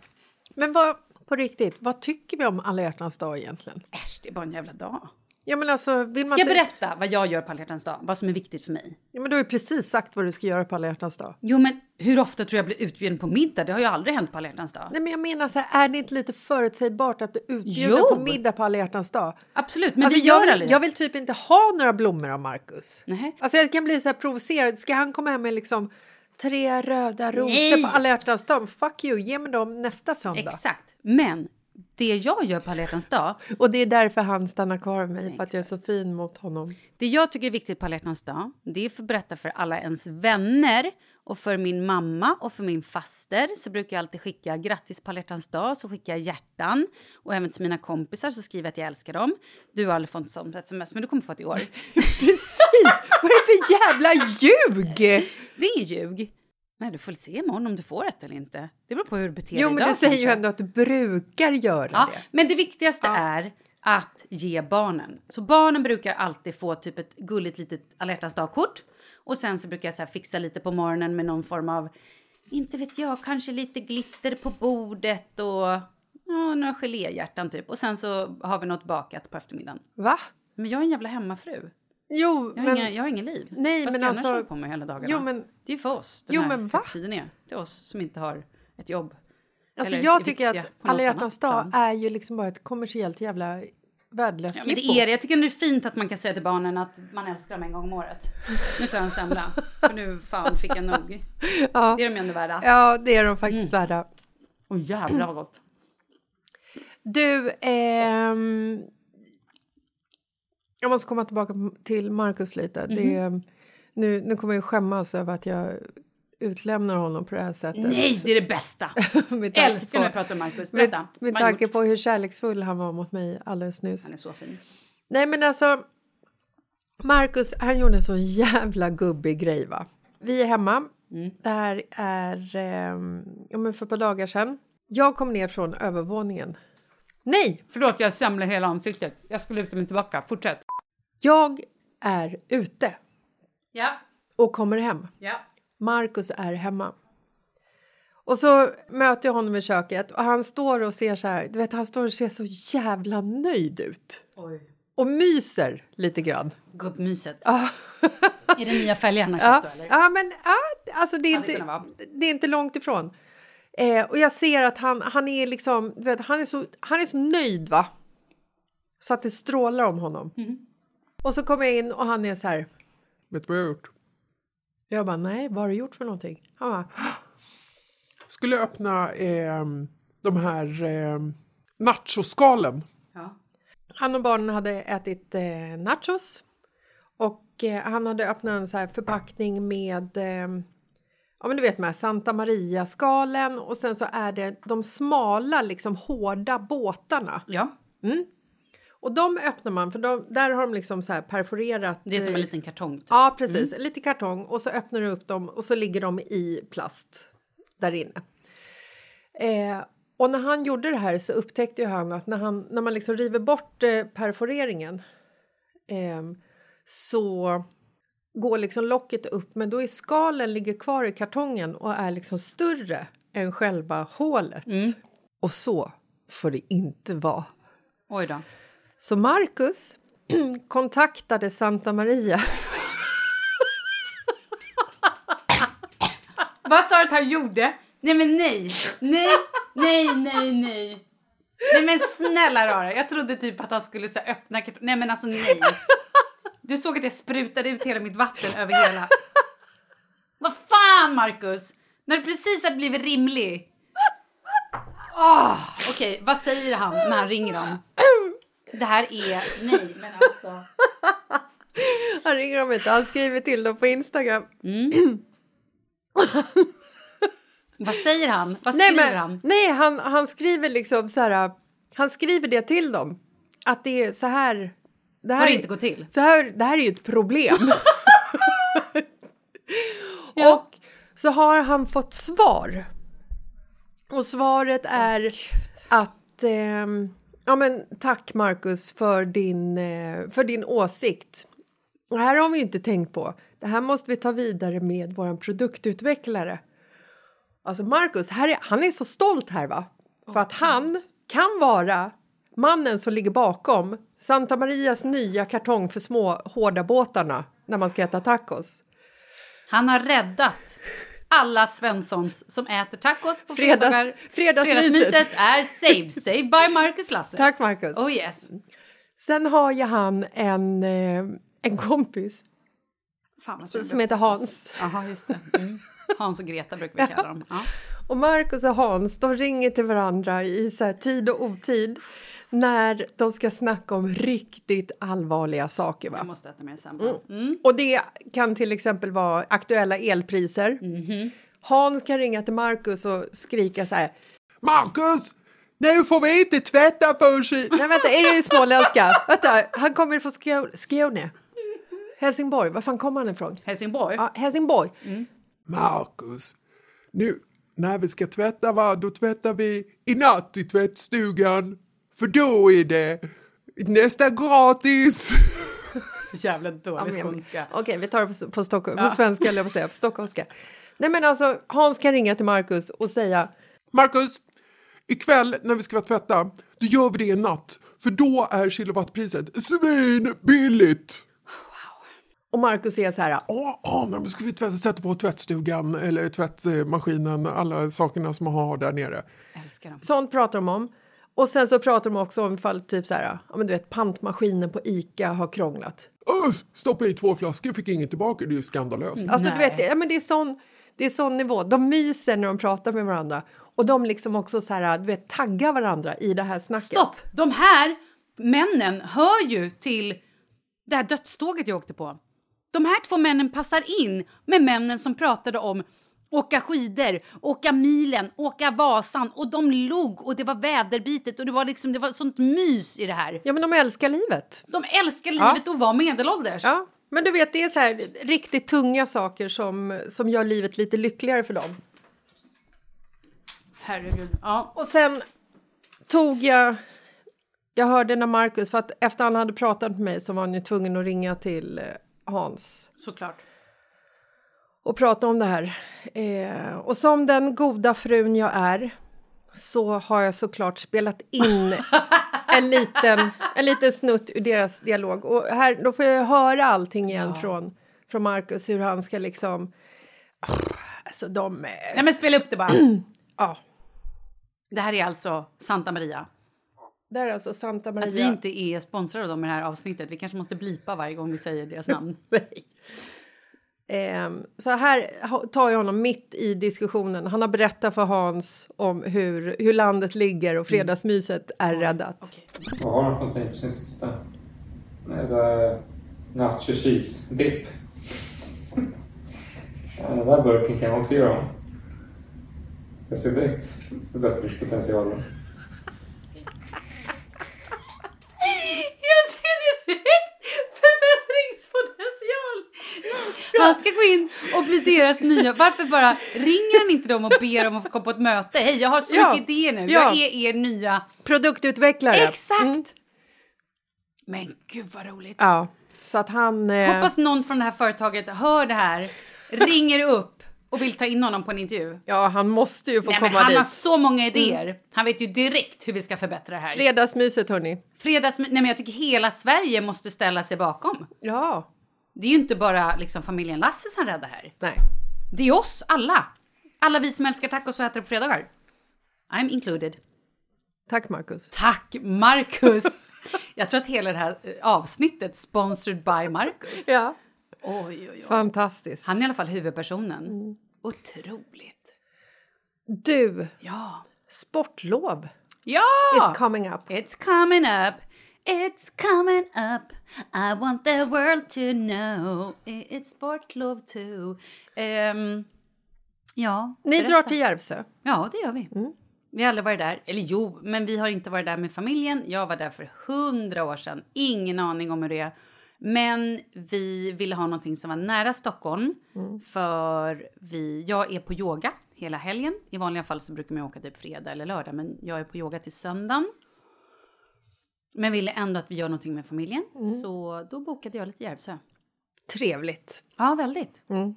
[SPEAKER 2] Men vad, på riktigt, vad tycker vi om alla hjärtans dag egentligen?
[SPEAKER 3] Äsch, det är bara en jävla dag.
[SPEAKER 2] Ja, men alltså, vill man
[SPEAKER 3] Ska jag
[SPEAKER 2] inte-
[SPEAKER 3] berätta vad jag gör på alla hjärtans dag, vad som är viktigt för mig?
[SPEAKER 2] Ja, men du har ju precis sagt vad du ska göra på alla hjärtans dag.
[SPEAKER 3] Jo, men hur ofta tror jag blir utbjuden på middag? Det har ju aldrig hänt på alla hjärtans dag.
[SPEAKER 2] Nej, men jag menar så här, är det inte lite förutsägbart att bli utbjuden
[SPEAKER 3] Jo.
[SPEAKER 2] på middag på alla hjärtans dag?
[SPEAKER 3] Absolut, men
[SPEAKER 2] alltså,
[SPEAKER 3] det gör
[SPEAKER 2] jag,
[SPEAKER 3] aldrig
[SPEAKER 2] vill, jag vill typ inte ha några blommor av Markus.
[SPEAKER 3] Nej.
[SPEAKER 2] Alltså jag kan bli så här provocerad. Ska han komma hem med liksom tre röda rosor
[SPEAKER 3] Nej.
[SPEAKER 2] på alla hjärtans dag? Fuck you, ge mig dem nästa söndag.
[SPEAKER 3] Exakt, men det jag gör på alla hjärtans dag,
[SPEAKER 2] Och det är därför han stannar kvar med mig, för att jag är så fin mot honom.
[SPEAKER 3] Det jag tycker är viktigt på alla hjärtans dag det är för att berätta för alla ens vänner och för min mamma och för min faster så brukar jag alltid skicka grattis på alla hjärtans dag så skickar jag hjärtan och även till mina kompisar så skriver jag att jag älskar dem. Du har aldrig fått ett sånt sms men du kommer få ett i år.
[SPEAKER 2] (laughs) Precis! Vad är det för jävla ljug?
[SPEAKER 3] Det är ljug. Nej, du får väl se imorgon om du får ett eller inte. Det beror på hur du beter dig
[SPEAKER 2] Jo, men
[SPEAKER 3] idag,
[SPEAKER 2] du säger ju
[SPEAKER 3] kanske.
[SPEAKER 2] ändå att du brukar göra
[SPEAKER 3] Ja,
[SPEAKER 2] det.
[SPEAKER 3] men det viktigaste är att ge barnen. Så barnen brukar alltid få typ ett gulligt litet alla hjärtans dagkort. Och sen så brukar jag så här fixa lite på morgonen med någon form av, inte vet jag, kanske lite glitter på bordet och ja, några geléhjärtan typ. Och sen så har vi något bakat på eftermiddagen.
[SPEAKER 2] Va?
[SPEAKER 3] Men jag är en jävla hemmafru.
[SPEAKER 2] Jo,
[SPEAKER 3] Jag har,
[SPEAKER 2] men...
[SPEAKER 3] inga, jag har ingen liv.
[SPEAKER 2] Nej,
[SPEAKER 3] Vad
[SPEAKER 2] men
[SPEAKER 3] ska jag
[SPEAKER 2] alltså-
[SPEAKER 3] annars hålla på med hela dagarna?
[SPEAKER 2] Jo, men-
[SPEAKER 3] Det är ju för oss den
[SPEAKER 2] Jo,
[SPEAKER 3] här
[SPEAKER 2] men va?
[SPEAKER 3] högtiden är. Till oss som inte har ett jobb.
[SPEAKER 2] Alltså
[SPEAKER 3] Eller är
[SPEAKER 2] jag tycker att
[SPEAKER 3] viktiga på något
[SPEAKER 2] alla hjärtans
[SPEAKER 3] annat
[SPEAKER 2] dag
[SPEAKER 3] plan.
[SPEAKER 2] är ju liksom bara ett kommersiellt jävla Värdelöst
[SPEAKER 3] Ja, men det
[SPEAKER 2] jippo.
[SPEAKER 3] är det. Jag tycker det är fint att man kan säga till barnen att man älskar dem en gång om året. Nu tar jag en semla, för nu fan fick jag nog.
[SPEAKER 2] Ja.
[SPEAKER 3] Det är de ju ändå värda.
[SPEAKER 2] Ja, det är de faktiskt
[SPEAKER 3] Mm.
[SPEAKER 2] värda.
[SPEAKER 3] Åh jävlar vad gott.
[SPEAKER 2] Du, ehm, jag måste komma tillbaka till Markus lite.
[SPEAKER 3] Mhm.
[SPEAKER 2] Det, nu, nu kommer jag skämmas över att jag utlämnar honom på det här sättet.
[SPEAKER 3] Nej, det är det bästa!
[SPEAKER 2] (laughs) Med tanke
[SPEAKER 3] Älskar när
[SPEAKER 2] på-
[SPEAKER 3] jag pratar med Marcus. Berätta.
[SPEAKER 2] Med,
[SPEAKER 3] vad
[SPEAKER 2] med
[SPEAKER 3] har han
[SPEAKER 2] tanke på hur kärleksfull han var mot mig alldeles nyss.
[SPEAKER 3] Han är så fin.
[SPEAKER 2] Nej men alltså, Marcus han gjorde en så jävla gubbig grej va. Vi är hemma,
[SPEAKER 3] Mm.
[SPEAKER 2] det här är ehm, ja, men för ett par dagar sedan. Jag kom ner från övervåningen. Nej!
[SPEAKER 3] Förlåt, jag samlade hela ansiktet. Jag ska luta mig tillbaka. Fortsätt.
[SPEAKER 2] Jag är ute
[SPEAKER 3] Ja,
[SPEAKER 2] och kommer hem.
[SPEAKER 3] ja.
[SPEAKER 2] Marcus är hemma. Och så möter jag honom i köket och han står och ser så här, du vet han står och ser så jävla nöjd ut.
[SPEAKER 3] Oj.
[SPEAKER 2] Och myser lite grann.
[SPEAKER 3] Gubbmyset. Är det nya fälgarna
[SPEAKER 2] Ja,
[SPEAKER 3] köpte eller?
[SPEAKER 2] ja men ja, alltså det är,
[SPEAKER 3] Hade kunnat
[SPEAKER 2] inte,
[SPEAKER 3] vara.
[SPEAKER 2] det är inte långt ifrån. Eh, och jag ser att han, han är liksom, du vet, han är, så, han är så nöjd va. Så att det strålar om honom.
[SPEAKER 3] Mm.
[SPEAKER 2] Och så kommer jag in och han är så här,
[SPEAKER 4] Vet du vad jag har gjort?
[SPEAKER 2] jag bara nej vad har du gjort för någonting? Han bara,
[SPEAKER 4] Skulle öppna eh, de här eh, nachoskalen.
[SPEAKER 3] Ja.
[SPEAKER 2] Han och barnen hade ätit eh, nachos och eh, han hade öppnat en så här förpackning med eh, ja men du vet de här Santa Maria skalen och sen så är det de smala liksom hårda båtarna.
[SPEAKER 3] Ja.
[SPEAKER 2] Mm. Och de öppnar man för de, där har de liksom så här perforerat.
[SPEAKER 3] Det är som en
[SPEAKER 2] eh,
[SPEAKER 3] liten kartong. typ.
[SPEAKER 2] Ja precis, lite kartong och så öppnar du upp dem och så ligger de i plast där inne. Eh, och när han gjorde det här så upptäckte ju han att när, han, när man liksom river bort eh, perforeringen ehm, så går liksom locket upp men då är skalen ligger kvar i kartongen och är liksom större än själva hålet. Och så får det inte vara.
[SPEAKER 3] Oj då.
[SPEAKER 2] Så Marcus (clears throat) kontaktade Santa Maria
[SPEAKER 3] Vad sa du att han gjorde? Nej men nej, nej, nej, nej, nej. Nej men snälla rara, jag trodde typ att han skulle så här öppna kartong. Nej men alltså nej. Du såg att jag sprutade ut hela mitt vatten över hela. Vad fan Marcus! När du precis hade blivit rimlig. Åh, Okej, vad säger han när han ringer dem? Det här är... Nej men alltså.
[SPEAKER 2] Han ringer dem inte, han skriver till dem på Instagram.
[SPEAKER 3] Vad säger han? Vad
[SPEAKER 2] Nej,
[SPEAKER 3] skriver
[SPEAKER 2] men,
[SPEAKER 3] han?
[SPEAKER 2] nej han, han skriver liksom så här... Han skriver det till dem. Att det är så här... Det
[SPEAKER 3] Får
[SPEAKER 2] här,
[SPEAKER 3] det inte gå till?
[SPEAKER 2] så här, det här är ju ett
[SPEAKER 3] (laughs)
[SPEAKER 2] problem. (laughs) Och så har han fått svar. Och svaret är att... ehm, ja, men tack, Marcus, för din, eh, för din åsikt. Det här har vi ju inte tänkt på. Det här måste vi ta vidare med vår produktutvecklare. Alltså Marcus, här är, han är så stolt här va? För att han kan vara mannen som ligger bakom Santa Marias nya kartong för små hårda båtarna när man ska äta tacos.
[SPEAKER 3] Han har räddat alla Svenssons som äter tacos på
[SPEAKER 2] Fredags-
[SPEAKER 3] fredagar.
[SPEAKER 2] fredagsmyset.
[SPEAKER 3] är saved, saved by Marcus Lasses.
[SPEAKER 2] Tack, Marcus.
[SPEAKER 3] Oh yes.
[SPEAKER 2] Sen har ju han en, eh, en kompis
[SPEAKER 3] Fan, vad
[SPEAKER 2] som heter Hans.
[SPEAKER 3] Jaha, just det. Mm. Hans och Greta brukar vi kalla dem. Ja.
[SPEAKER 2] Och Marcus och Hans de ringer till varandra i så här tid och otid när de ska snacka om riktigt allvarliga saker. Va?
[SPEAKER 3] Jag måste äta mer semla. Mm.
[SPEAKER 2] Och det kan till exempel vara aktuella elpriser.
[SPEAKER 3] Mhm.
[SPEAKER 2] Hans kan ringa till Marcus och skrika så här.
[SPEAKER 4] Marcus! Nu får vi inte tvätta för i...
[SPEAKER 2] (laughs) Nej vänta, är det småländska? vänta, han kommer från Skå- Skåne. Helsingborg, var fan kommer han ifrån?
[SPEAKER 3] Helsingborg.
[SPEAKER 2] Ja, Helsingborg.
[SPEAKER 4] Mm. Marcus, nu när vi ska tvätta va, då tvättar vi i natt i tvättstugan. För då är det nästa gratis.
[SPEAKER 3] Så jävla dålig
[SPEAKER 2] Ja, men-
[SPEAKER 3] skånska.
[SPEAKER 2] Okej, vi tar det på, på, Stockholm, på svenska, eller jag på att säga, på stockholmska. Nej men alltså, Hans kan ringa till Marcus och säga
[SPEAKER 4] Marcus, ikväll när vi ska tvätta, då gör vi det i natt. För då är kilowattpriset svinbilligt.
[SPEAKER 2] och Marcus är så här,
[SPEAKER 4] Ja, ja, men då ska vi tvätta, sätta på tvättstugan eller tvättmaskinen, alla sakerna som man har där nere.
[SPEAKER 3] Älskar dem.
[SPEAKER 2] sånt pratar de om. Och sen så pratar de också om ifall typ så här, ja men du vet pantmaskinen på Ica har krånglat.
[SPEAKER 4] Öh, stoppa i två flaskor, fick inget tillbaka. Det är ju skandalöst.
[SPEAKER 2] Alltså du vet, det- ja, men det, är sån, det är sån nivå. De myser när de pratar med varandra och de liksom också så här, du vet, taggar varandra i det här snacket.
[SPEAKER 3] Stopp! De här männen hör ju till det här dödståget jag åkte på. De här två männen passar in med männen som pratade om åka skidor, åka milen, åka Vasan och de log och det var väderbitet och det var liksom det var sånt mys i det här.
[SPEAKER 2] Ja, men de älskar livet.
[SPEAKER 3] De älskar
[SPEAKER 2] Ja.
[SPEAKER 3] livet och var medelålders.
[SPEAKER 2] Ja, men du vet, det är så här riktigt tunga saker som, som gör livet lite lyckligare för dem.
[SPEAKER 3] Herregud. Ja.
[SPEAKER 2] Och sen tog jag... Jag hörde när Marcus, för att efter han hade pratat med mig så var han ju tvungen att ringa till eh, Hans
[SPEAKER 3] Såklart.
[SPEAKER 2] och prata om det här. Eh, och som den goda frun jag är så har jag såklart spelat
[SPEAKER 3] (laughs)
[SPEAKER 2] in en liten, en liten snutt ur deras dialog. Och här, då får jag höra allting igen från, från Marcus, hur han ska liksom... Ah, alltså de...
[SPEAKER 3] Nej men spela upp det bara.
[SPEAKER 2] (clears throat) ja.
[SPEAKER 3] Det här är alltså Santa Maria.
[SPEAKER 2] Där är alltså Santa Maria.
[SPEAKER 3] Att vi inte är sponsrade av dem i det här avsnittet. Vi kanske måste blipa varje gång vi
[SPEAKER 2] (laughs)
[SPEAKER 3] säger deras (laughs) namn.
[SPEAKER 2] Ehm, så här ha- tar jag honom mitt i diskussionen. Han har berättat för Hans om hur, hur landet ligger
[SPEAKER 3] Mm.
[SPEAKER 2] och fredagsmyset är räddat.
[SPEAKER 10] Vad har han för någonting på sin sista? Nej, det är nacho cheese dip. Ja, Den där burken kan jag också göra om. Jag ser direkt förbättringspotentialen.
[SPEAKER 3] Jag ser direkt förbättringspotential! Han ska gå in och bli deras nya... Varför bara ringer han inte dem och ber om att få komma på ett möte? Hej, jag har så
[SPEAKER 2] Ja,
[SPEAKER 3] mycket idéer nu.
[SPEAKER 2] ja.
[SPEAKER 3] Jag är er nya...
[SPEAKER 2] Produktutvecklare.
[SPEAKER 3] Exakt!
[SPEAKER 2] Mm.
[SPEAKER 3] Men gud vad roligt.
[SPEAKER 2] Ja, så att han... eh,
[SPEAKER 3] Hoppas någon från det här företaget hör det här, ringer upp och vill ta in honom på en interview.
[SPEAKER 2] (laughs) Ja, han måste ju få
[SPEAKER 3] Nej, men
[SPEAKER 2] komma
[SPEAKER 3] han
[SPEAKER 2] dit. Mm.
[SPEAKER 3] har så många idéer. Han vet ju direkt hur vi ska förbättra det här.
[SPEAKER 2] Fredagsmyset, hörni.
[SPEAKER 3] Fredags... Nej, men jag tycker hela Sverige måste ställa sig bakom.
[SPEAKER 2] Ja.
[SPEAKER 3] Det är ju inte bara liksom familjen Lasses han räddar här.
[SPEAKER 2] Nej.
[SPEAKER 3] Det är oss alla. Alla vi som älskar tacos och äter det på fredagar. I'm included.
[SPEAKER 2] Tack, Marcus.
[SPEAKER 3] Tack, Marcus! jag tror att hela det här eh, avsnittet sponsored by Marcus.
[SPEAKER 2] Ja.
[SPEAKER 3] Oj, oj, oj.
[SPEAKER 2] Fantastiskt.
[SPEAKER 3] Han är i alla fall huvudpersonen. Otroligt.
[SPEAKER 2] Du,
[SPEAKER 3] Ja.
[SPEAKER 2] sportlov
[SPEAKER 3] Ja!
[SPEAKER 2] is coming up.
[SPEAKER 3] It's coming up. It's coming up. I want the world to know. It's sportlov too. Ehm, ja.
[SPEAKER 2] Ni
[SPEAKER 3] berätta.
[SPEAKER 2] drar till Järvsö.
[SPEAKER 3] Ja, det gör vi. Vi har aldrig varit där. Eller jo, men vi har inte varit där med familjen. Jag var där för hundra år sedan. Ingen aning om hur det är. Men vi ville ha någonting som var nära Stockholm. För vi, jag är på yoga hela helgen. I vanliga fall så brukar man åka typ fredag eller lördag. Men jag är på yoga till söndagen. Men ville ändå att vi gör någonting med familjen. Så då bokade jag lite Järvsö.
[SPEAKER 2] Trevligt.
[SPEAKER 3] Ja, väldigt.
[SPEAKER 2] Mm.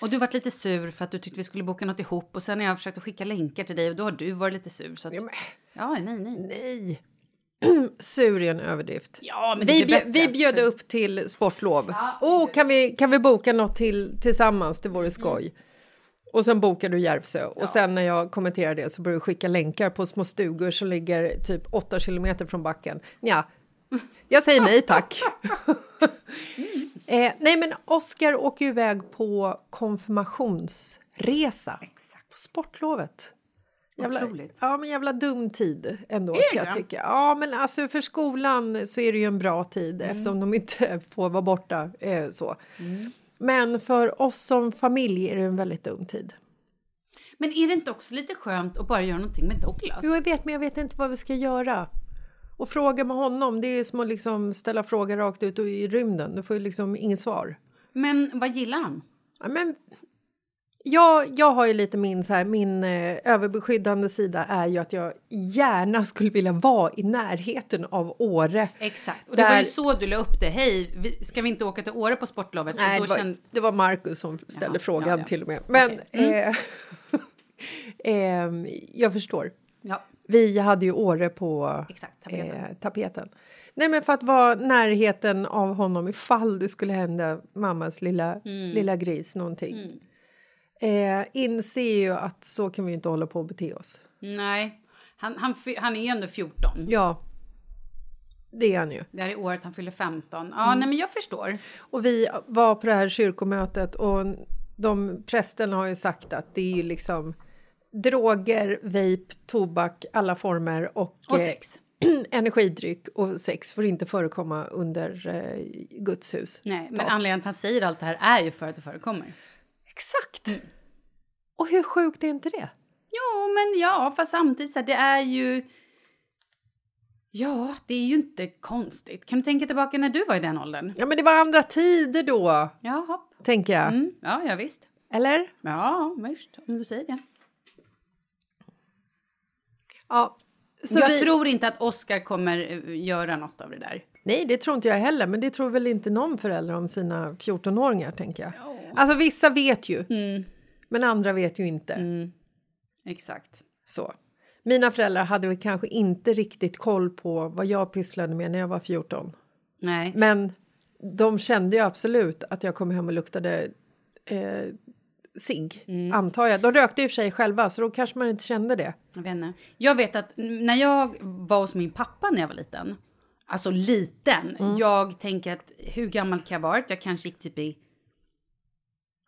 [SPEAKER 3] Och du varit lite sur för att du tyckte vi skulle boka något ihop och sen har jag försökt att skicka länkar till dig och då har du varit lite sur. Så att... ja, nej, nej.
[SPEAKER 2] Nej. (clears throat) Sur är en överdrift.
[SPEAKER 3] Ja, men det
[SPEAKER 2] vi,
[SPEAKER 3] blir
[SPEAKER 2] bjö-
[SPEAKER 3] bättre.
[SPEAKER 2] vi bjöd upp till sportlov. Åh, kan, vi, kan vi boka något till, tillsammans? Det
[SPEAKER 3] Mm.
[SPEAKER 2] vore skoj. Och sen bokar du Järvsö. Och sen när jag kommenterar det så börjar du skicka länkar på små stugor som ligger typ 8 kilometer från backen. Ja, jag säger nej
[SPEAKER 3] (laughs)
[SPEAKER 2] tack. eh, nej, men Oskar åker ju iväg på konfirmationsresa.
[SPEAKER 3] Exakt.
[SPEAKER 2] På sportlovet. Jävla,
[SPEAKER 3] Otroligt.
[SPEAKER 2] ja, men jävla dum tid ändå
[SPEAKER 3] Är
[SPEAKER 2] kan
[SPEAKER 3] det?
[SPEAKER 2] jag tycka. Ja, men alltså för skolan så är det ju en bra tid
[SPEAKER 3] Mm.
[SPEAKER 2] eftersom de inte (laughs) får vara borta eh, så.
[SPEAKER 3] Mm.
[SPEAKER 2] Men för oss som familj är det en väldigt dum tid.
[SPEAKER 3] Men är det inte också lite skönt att bara göra någonting med Douglas?
[SPEAKER 2] Jo, jag vet, men jag vet inte vad vi ska göra. Och fråga med honom, det är som att liksom ställa frågor rakt ut och i rymden. Du får ju liksom inget svar.
[SPEAKER 3] Men vad gillar han?
[SPEAKER 2] Ja, men jag, jag har ju lite min, så här, min eh, överbeskyddande sida är ju att jag gärna skulle vilja vara i närheten av Åre.
[SPEAKER 3] Exakt. Och det
[SPEAKER 2] Där-
[SPEAKER 3] var ju så du la upp det. Hej, vi- ska vi inte åka till Åre på sportlovet?
[SPEAKER 2] Nej,
[SPEAKER 3] och
[SPEAKER 2] det
[SPEAKER 3] då
[SPEAKER 2] var,
[SPEAKER 3] kände...
[SPEAKER 2] det var Markus som ställde frågan till och med. Men eh,
[SPEAKER 3] Mm.
[SPEAKER 2] (laughs) ehm, jag förstår.
[SPEAKER 3] Ja,
[SPEAKER 2] Vi hade ju Åre på
[SPEAKER 3] Exakt, tapeten.
[SPEAKER 2] Eh, tapeten. Nej, men för att vara närheten av honom ifall det skulle hända mammas lilla,
[SPEAKER 3] Mm.
[SPEAKER 2] lilla gris någonting. Eh, inser ju att så kan vi ju inte hålla på och bete oss.
[SPEAKER 3] nej. Han, han, fy- han är ju ändå 14.
[SPEAKER 2] Ja. Det är han ju.
[SPEAKER 3] Det här är året han fyller 15.
[SPEAKER 2] Mm.
[SPEAKER 3] Ja, nej men jag förstår.
[SPEAKER 2] Och vi var på det här kyrkomötet och de prästerna har ju sagt att det är ju liksom droger, vape, tobak, alla former och,
[SPEAKER 3] Och sex.
[SPEAKER 2] eh, (clears throat) energidryck och sex får inte förekomma under eh, Guds hus.
[SPEAKER 3] Nej, men
[SPEAKER 2] Tak.
[SPEAKER 3] anledningen till att han säger allt det här är ju för att det förekommer.
[SPEAKER 2] Exakt!
[SPEAKER 3] Mm.
[SPEAKER 2] Och hur sjukt är inte det?
[SPEAKER 3] Jo, men ja, fast samtidigt så här, det är ju... Ja, det är ju inte konstigt. Kan du tänka tillbaka när du var i den åldern?
[SPEAKER 2] Ja, men det var andra tider då,
[SPEAKER 3] Jaha.
[SPEAKER 2] tänker jag.
[SPEAKER 3] Mm, ja, ja, visst.
[SPEAKER 2] Eller?
[SPEAKER 3] Ja, visst, om du säger det.
[SPEAKER 2] Ja. Så
[SPEAKER 3] jag
[SPEAKER 2] vi...
[SPEAKER 3] tror inte att Oscar kommer eh, göra något av det där.
[SPEAKER 2] Nej, det tror inte jag heller, men det tror väl inte någon förälder om sina 14-åringar, tänker jag. Alltså, vissa vet ju,
[SPEAKER 3] Mm.
[SPEAKER 2] men andra vet ju inte.
[SPEAKER 3] Exakt.
[SPEAKER 2] Så. Mina föräldrar hade väl kanske inte riktigt koll på vad jag pysslade med när jag var 14.
[SPEAKER 3] Nej.
[SPEAKER 2] Men de kände ju absolut att jag kom hem och luktade eh, cigg,
[SPEAKER 3] Mm.
[SPEAKER 2] antar jag. De rökte i och för sig själva, så då kanske man inte kände det.
[SPEAKER 3] Jag vet, inte. jag vet att n- när jag var hos min pappa när jag var liten, alltså liten, jag tänker att hur gammal kan jag ha varit? Jag kanske gick typ i...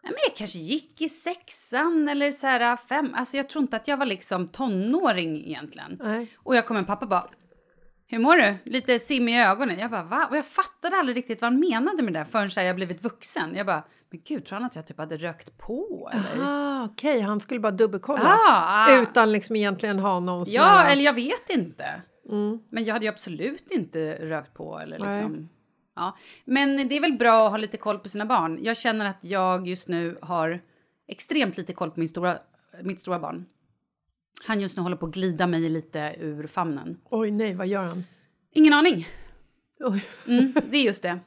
[SPEAKER 3] Nej, men jag kanske gick i sexan eller så här fem. Alltså jag tror inte att jag var liksom tonåring egentligen.
[SPEAKER 2] Nej.
[SPEAKER 3] Och jag kom en pappa bara, hur mår du? Lite simmig i ögonen. Jag bara, va? Och jag fattade aldrig riktigt vad han menade med det där förrän så här, jag blivit vuxen. Jag bara, men gud, tror han att jag typ hade rökt på eller?
[SPEAKER 2] Ah, Okej, han skulle bara dubbelkolla.
[SPEAKER 3] Ah, ah.
[SPEAKER 2] Utan liksom egentligen ha någon sån
[SPEAKER 3] Ja,
[SPEAKER 2] här-
[SPEAKER 3] eller jag vet inte.
[SPEAKER 2] Mm.
[SPEAKER 3] Men jag hade ju absolut inte rökt på eller
[SPEAKER 2] Nej.
[SPEAKER 3] liksom. Ja. Men det är väl bra att ha lite koll på sina barn. Jag känner att jag just nu har extremt lite koll på min stora, mitt stora barn. Han just nu håller på att glida mig lite ur famnen.
[SPEAKER 2] Oj, nej, vad gör han?
[SPEAKER 3] Ingen aning.
[SPEAKER 2] Oj.
[SPEAKER 3] Mm, det är just det.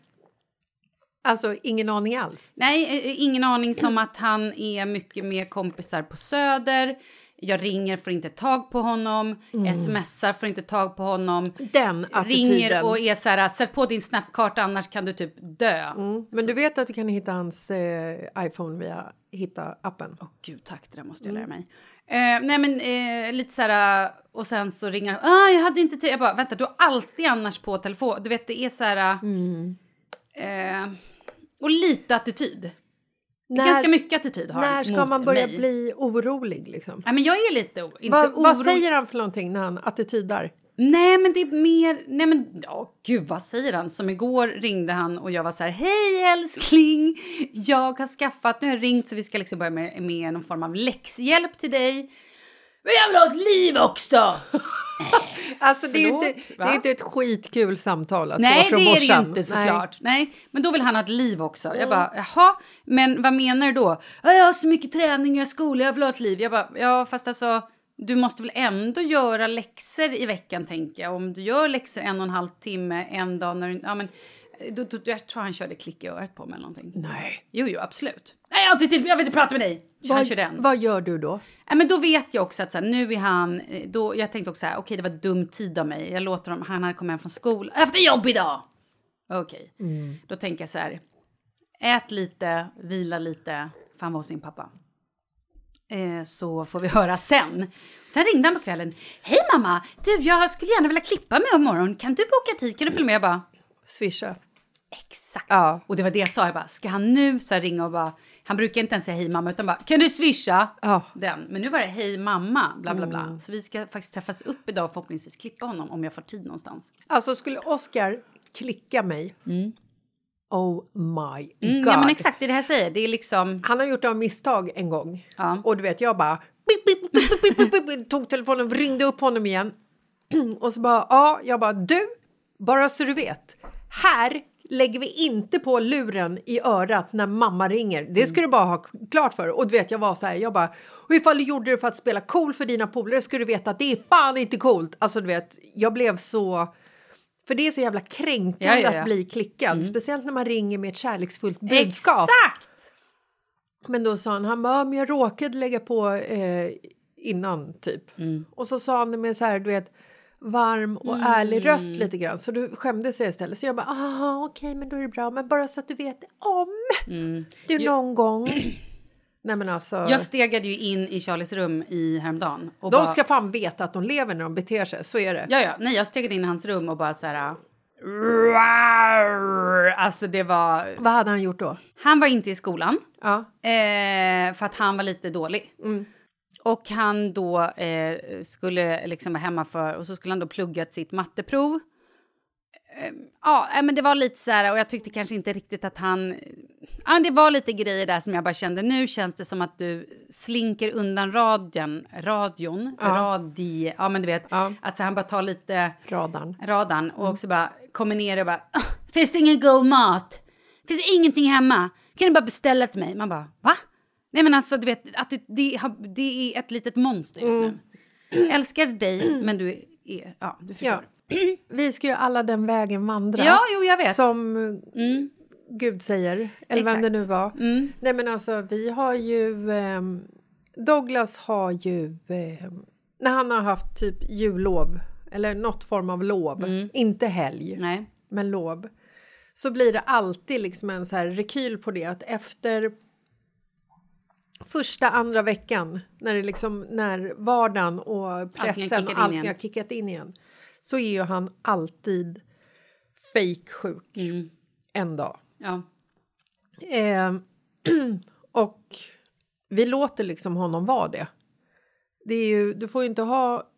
[SPEAKER 2] Alltså, ingen aning alls.
[SPEAKER 3] Nej, eh, ingen aning som att han är mycket med kompisar på Söder. Jag ringer, får inte tag på honom. Smsar, får inte tag på honom.
[SPEAKER 2] Mm. Den attityden.
[SPEAKER 3] Ringer och är så här, sätt på din snapkarta annars kan du typ dö.
[SPEAKER 2] Mm. Men du vet att du kan hitta hans eh, iPhone via Hitta-appen?
[SPEAKER 3] Åh gud, tack, det där måste jag lära
[SPEAKER 2] Mm.
[SPEAKER 3] mig. Eh, nej men eh, lite så här, och sen så ringer han, ah, jag hade inte tid. Jag bara, vänta du har alltid annars på telefon. Du vet det är så här,
[SPEAKER 2] Mm.
[SPEAKER 3] eh, och lite attityd.
[SPEAKER 2] När-
[SPEAKER 3] Ganska mycket attityd har
[SPEAKER 2] När
[SPEAKER 3] han
[SPEAKER 2] ska
[SPEAKER 3] mot
[SPEAKER 2] man börja
[SPEAKER 3] mig.
[SPEAKER 2] bli orolig? Liksom?
[SPEAKER 3] Nej men jag är lite, o- inte
[SPEAKER 2] Vad- Vad
[SPEAKER 3] orolig.
[SPEAKER 2] säger han för någonting när han attitydar?
[SPEAKER 3] Nej, men det är mer... Nej, men ja, gud, vad säger han? Som igår ringde han och jag var så här... Hej, älskling! Jag har skaffat... Nu har jag ringt så vi ska liksom börja med, med någon form av läxhjälp till dig. Men jag vill ha ett liv också!
[SPEAKER 2] Alltså, det, är ju
[SPEAKER 3] Förlåt,
[SPEAKER 2] inte, det
[SPEAKER 3] va?
[SPEAKER 2] är inte ett skitkul samtal att
[SPEAKER 3] Nej,
[SPEAKER 2] få
[SPEAKER 3] det
[SPEAKER 2] från
[SPEAKER 3] är det ju
[SPEAKER 2] morsan.
[SPEAKER 3] inte
[SPEAKER 2] Nej.
[SPEAKER 3] såklart. Nej. men då vill han ha ett liv också. Jag
[SPEAKER 2] Mm.
[SPEAKER 3] bara, jaha, men vad menar du då? "Ja, Jag har så mycket träning, jag har skola, jag vill ha ett liv. Jag bara, ja fast alltså du måste väl ändå göra läxor i veckan tänker jag. Om du gör läxor en och en halv timme, en dag när du, ja men, eh, då, då, jag tror han körde klick i örat på mig eller någonting.
[SPEAKER 2] Nej.
[SPEAKER 3] Jo, jo, absolut. Nej, jag, har inte tid, jag vill inte prata med dig! Han körde den.
[SPEAKER 2] Vad, vad gör du då?
[SPEAKER 3] Ja, men då vet jag också att så här, nu är han... eh, Då, jag tänkte också så här, okej det var dum tid av mig. Jag låter honom, han hade kommit hem från skolan. Jag har haft ett jobb idag! Okej. Då tänker jag så här, ät lite, vila lite, för han var hos sin pappa. Eh, så får vi höra sen. Sen ringde han på kvällen. Hej mamma! Du, jag skulle gärna vilja klippa mig imorgon. Kan du boka tid? Kan du följa med? Jag bara,
[SPEAKER 2] Swisha.
[SPEAKER 3] exakt.
[SPEAKER 2] Ja.
[SPEAKER 3] Och det var det jag sa. Jag bara, ska han nu så här ringa och bara... Han brukar inte ens säga hej mamma, utan bara, kan du swisha?
[SPEAKER 2] Ja. Mm.
[SPEAKER 3] Den. Men nu var det hej mamma, bla bla bla. Så vi ska faktiskt träffas upp idag och förhoppningsvis klippa honom om jag får tid någonstans.
[SPEAKER 2] Alltså, skulle Oscar klicka mig? Oh my god.
[SPEAKER 3] Mm, ja men exakt, det är det här jag säger. Det är liksom...
[SPEAKER 2] Han har gjort av misstag en gång.
[SPEAKER 3] Ja.
[SPEAKER 2] Och du vet, jag bara... Bip, bip, bip, bip, bip, bip, bip, tog telefonen, ringde upp honom igen. (clears throat) Och så bara, ja, jag bara, du, bara så du vet. Här lägger vi inte på luren i örat när mamma ringer. Det
[SPEAKER 3] Mm.
[SPEAKER 2] ska du bara ha klart för. Och du vet, jag var så här, jag bara, och ifall du gjorde det för att spela cool för dina polare ska du veta att det är fan inte coolt. Alltså du vet, jag blev så... För det är så jävla kränkande
[SPEAKER 3] Ja, ja, ja.
[SPEAKER 2] att bli klickad. Speciellt när man ringer med ett kärleksfullt budskap.
[SPEAKER 3] Exakt!
[SPEAKER 2] Men då sa han, han bara, "Ja, men jag råkade lägga på eh, innan typ.
[SPEAKER 3] Mm.
[SPEAKER 2] Och så sa han det med så här, du vet, varm och ärlig röst lite grann. Så du skämde sig istället. Så jag bara,
[SPEAKER 3] (clears throat)
[SPEAKER 2] aha okej men då är det bra. Men bara så att du vet om du någon gång Nej, men alltså,
[SPEAKER 3] Mm. Jag stegade ju in i Charlies rum i häromdagen. Och
[SPEAKER 2] de
[SPEAKER 3] bara,
[SPEAKER 2] ska fan veta att de lever när de beter sig, så är det.
[SPEAKER 3] Ja, ja. Nej, jag stegade in i hans rum och bara så här... "Rar." Alltså det var...
[SPEAKER 2] Vad hade han gjort då?
[SPEAKER 3] Han var inte i skolan. Eh, för att han var lite dålig. Och han då eh, skulle liksom vara hemma för... Och så skulle han då plugga sitt matteprov. Eh, Ja, eh, men det var lite så här, och jag tyckte kanske inte riktigt att han... Ja, men det var lite grejer där som jag bara kände, nu känns det som att du slinker undan radion, radion,
[SPEAKER 2] Ja.
[SPEAKER 3] radi, ja men du vet, att så han bara tar lite...
[SPEAKER 2] Radarn.
[SPEAKER 3] Radarn,
[SPEAKER 2] Mm.
[SPEAKER 3] och också bara kommer ner och bara, "Ah, finns det ingen god mat? Finns det ingenting hemma? Kan du bara beställa till mig? Man bara, va? Nej men alltså du vet, att det, det, har, det är ett litet monster just nu.
[SPEAKER 2] (clears throat)
[SPEAKER 3] Älskar dig, men du är, ja du förstår.
[SPEAKER 2] Mm. Ja. (clears throat) Vi ska ju alla den vägen vandra.
[SPEAKER 3] Ja, jo, jag vet. Mm.
[SPEAKER 2] Som Gud säger, eller vem
[SPEAKER 3] Exakt. Mm.
[SPEAKER 2] det nu var. Nej, men alltså, vi har ju... ehm, Douglas har ju... ehm, när han har haft typ jullov, eller något form av lov,
[SPEAKER 3] Mm.
[SPEAKER 2] inte helg, men lov så blir det alltid liksom en så här rekyl på det att efter första, andra veckan när, det liksom, när vardagen och pressen
[SPEAKER 3] kickat in
[SPEAKER 2] och allting
[SPEAKER 3] igen.
[SPEAKER 2] har kickat in igen så är ju han alltid fejksjuk
[SPEAKER 3] Mm.
[SPEAKER 2] en dag.
[SPEAKER 3] Ja.
[SPEAKER 2] Eh, (clears throat) och vi låter liksom honom vara det. det är ju, du får ju inte ha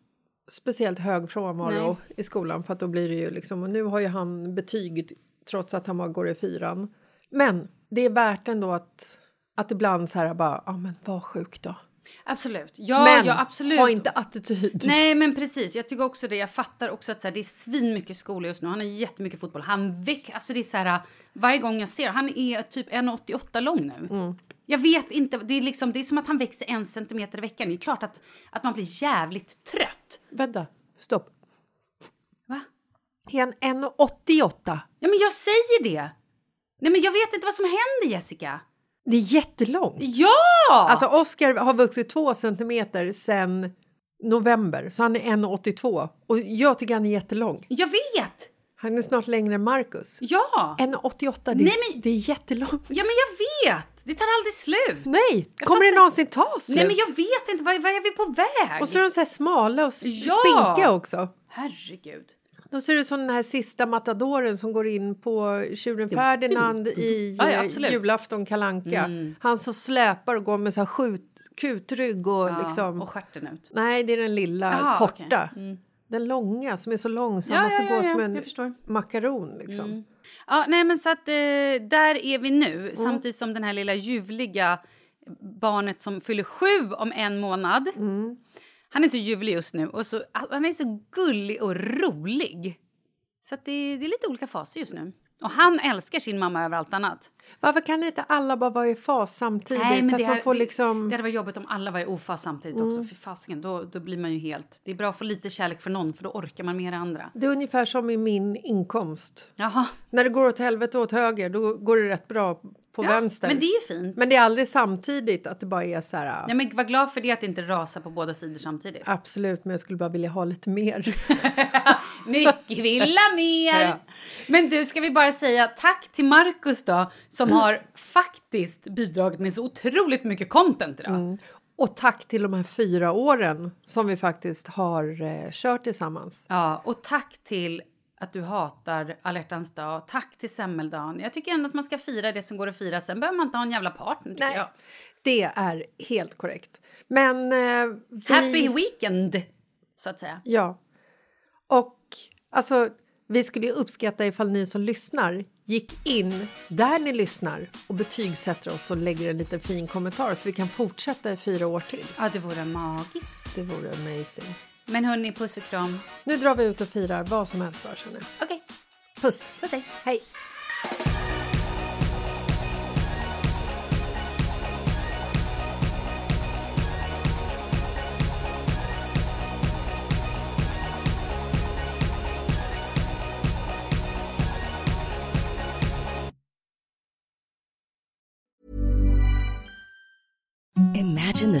[SPEAKER 2] speciellt hög frånvaro
[SPEAKER 3] Nej.
[SPEAKER 2] i skolan för att då blir det ju liksom, och nu har ju han betyg trots att han bara går i fyran. Men det är värt ändå att, att ibland så här bara, ja men var sjuk då.
[SPEAKER 3] Absolut. Ja,
[SPEAKER 2] men
[SPEAKER 3] ja, absolut.
[SPEAKER 2] ha inte attityd.
[SPEAKER 3] Nej, men precis. Jag tycker också det. Jag fattar också att så här, det är svinmycket skolor just nu. Han har jättemycket fotboll. Han väck, alltså det är så här, varje gång jag ser han är typ 1,88 lång nu.
[SPEAKER 2] Mm.
[SPEAKER 3] Jag vet inte, det är, liksom, det är som att han växer en centimeter i veckan. Det är klart att, att man blir jävligt trött.
[SPEAKER 2] Vänta, stopp.
[SPEAKER 3] Va?
[SPEAKER 2] Är han 1,88?
[SPEAKER 3] Ja, men jag säger det! Nej, men jag vet inte vad som händer, Jessica.
[SPEAKER 2] Det är jättelångt.
[SPEAKER 3] Ja!
[SPEAKER 2] Alltså Oscar har vuxit två centimeter sen november, så han är 1,82. Och jag tycker han är jättelång.
[SPEAKER 3] Jag vet!
[SPEAKER 2] Han är snart längre än Marcus.
[SPEAKER 3] Ja!
[SPEAKER 2] 1,88, det, är-
[SPEAKER 3] Nej, men-
[SPEAKER 2] det är jättelångt.
[SPEAKER 3] Ja, men jag vet! Det tar aldrig slut.
[SPEAKER 2] Nej,
[SPEAKER 3] Jag
[SPEAKER 2] kommer det
[SPEAKER 3] fattar-
[SPEAKER 2] någonsin ta slut?
[SPEAKER 3] Nej, men jag vet inte. Vad, vad är vi på väg?
[SPEAKER 2] Och så är de så här smala och sp-
[SPEAKER 3] Ja!
[SPEAKER 2] spinkiga också.
[SPEAKER 3] Herregud.
[SPEAKER 2] De ser ut som den här sista matadoren som går in på tjuren Ferdinand i
[SPEAKER 3] typ. Ja, ja,
[SPEAKER 2] eh,
[SPEAKER 3] absolut.
[SPEAKER 2] julafton Kalanka.
[SPEAKER 3] Mm.
[SPEAKER 2] Han som släpar och går med så här skjut, kutrygg och
[SPEAKER 3] Ja,
[SPEAKER 2] liksom...
[SPEAKER 3] och stjärten ut.
[SPEAKER 2] Nej, det är den lilla
[SPEAKER 3] Jaha,
[SPEAKER 2] korta.
[SPEAKER 3] okej. Mm.
[SPEAKER 2] Den långa som är så lång så
[SPEAKER 3] Ja,
[SPEAKER 2] han måste
[SPEAKER 3] ja,
[SPEAKER 2] gå
[SPEAKER 3] ja,
[SPEAKER 2] som
[SPEAKER 3] ja,
[SPEAKER 2] en
[SPEAKER 3] jag förstår.
[SPEAKER 2] makaron liksom.
[SPEAKER 3] Mm. Ja, nej men så att eh, där är vi nu.
[SPEAKER 2] Mm.
[SPEAKER 3] Samtidigt som den här lilla ljuvliga barnet som fyller sju om en månad.
[SPEAKER 2] Mm.
[SPEAKER 3] Han är så ljuvlig just nu och så, ah, han är så gullig och rolig. Så att det, det är lite olika faser just nu. Och han älskar sin mamma över allt annat.
[SPEAKER 2] Varför kan inte alla bara vara i fas samtidigt
[SPEAKER 3] Nej, men
[SPEAKER 2] så att
[SPEAKER 3] det,
[SPEAKER 2] man
[SPEAKER 3] här-
[SPEAKER 2] får
[SPEAKER 3] det-
[SPEAKER 2] liksom...
[SPEAKER 3] det hade varit jobbigt om alla var i ofas samtidigt också.
[SPEAKER 2] Mm.
[SPEAKER 3] För fasken, då, då blir man ju helt... Det är bra att få lite kärlek för någon för då orkar man mer andra.
[SPEAKER 2] Det är ungefär som i min inkomst.
[SPEAKER 3] Jaha.
[SPEAKER 2] När det går åt helvete åt höger då går det rätt bra på
[SPEAKER 3] Ja,
[SPEAKER 2] vänster.
[SPEAKER 3] men det är ju fint.
[SPEAKER 2] Men det är aldrig samtidigt att det bara är så här...
[SPEAKER 3] Nej, men var glad för det att det inte rasar på båda sidor samtidigt.
[SPEAKER 2] Absolut, men jag skulle bara vilja ha lite mer. (laughs)
[SPEAKER 3] Mycket villa mer!
[SPEAKER 2] Ja.
[SPEAKER 3] Men du, ska vi bara säga tack till Marcus då
[SPEAKER 2] Mm.
[SPEAKER 3] som har faktiskt bidragit med så otroligt mycket content idag.
[SPEAKER 2] Mm. Och tack till de här fyra åren som vi faktiskt har eh, kört tillsammans.
[SPEAKER 3] Ja, och tack till att du hatar alla hjärtans dag. Tack till semmeldagen. Jag tycker ändå att man ska fira det som går att fira. Sen behöver man inte ha en jävla partner. tycker
[SPEAKER 2] Nej,
[SPEAKER 3] jag.
[SPEAKER 2] det är helt korrekt. Men... Eh, vi...
[SPEAKER 3] Happy weekend, så att säga.
[SPEAKER 2] Ja. Och alltså, vi skulle ju uppskatta ifall ni som lyssnar gick in där ni lyssnar och betygsätter oss och lägger en liten fin kommentar så vi kan fortsätta i fyra år till.
[SPEAKER 3] Ja, det vore magiskt.
[SPEAKER 2] Det vore amazing.
[SPEAKER 3] Men hörni, puss och kram.
[SPEAKER 2] Nu drar vi ut och firar vad som helst bara känner jag.
[SPEAKER 3] Okej,
[SPEAKER 2] Puss!
[SPEAKER 3] puss hej.
[SPEAKER 2] Hej!
[SPEAKER 11] Imagine the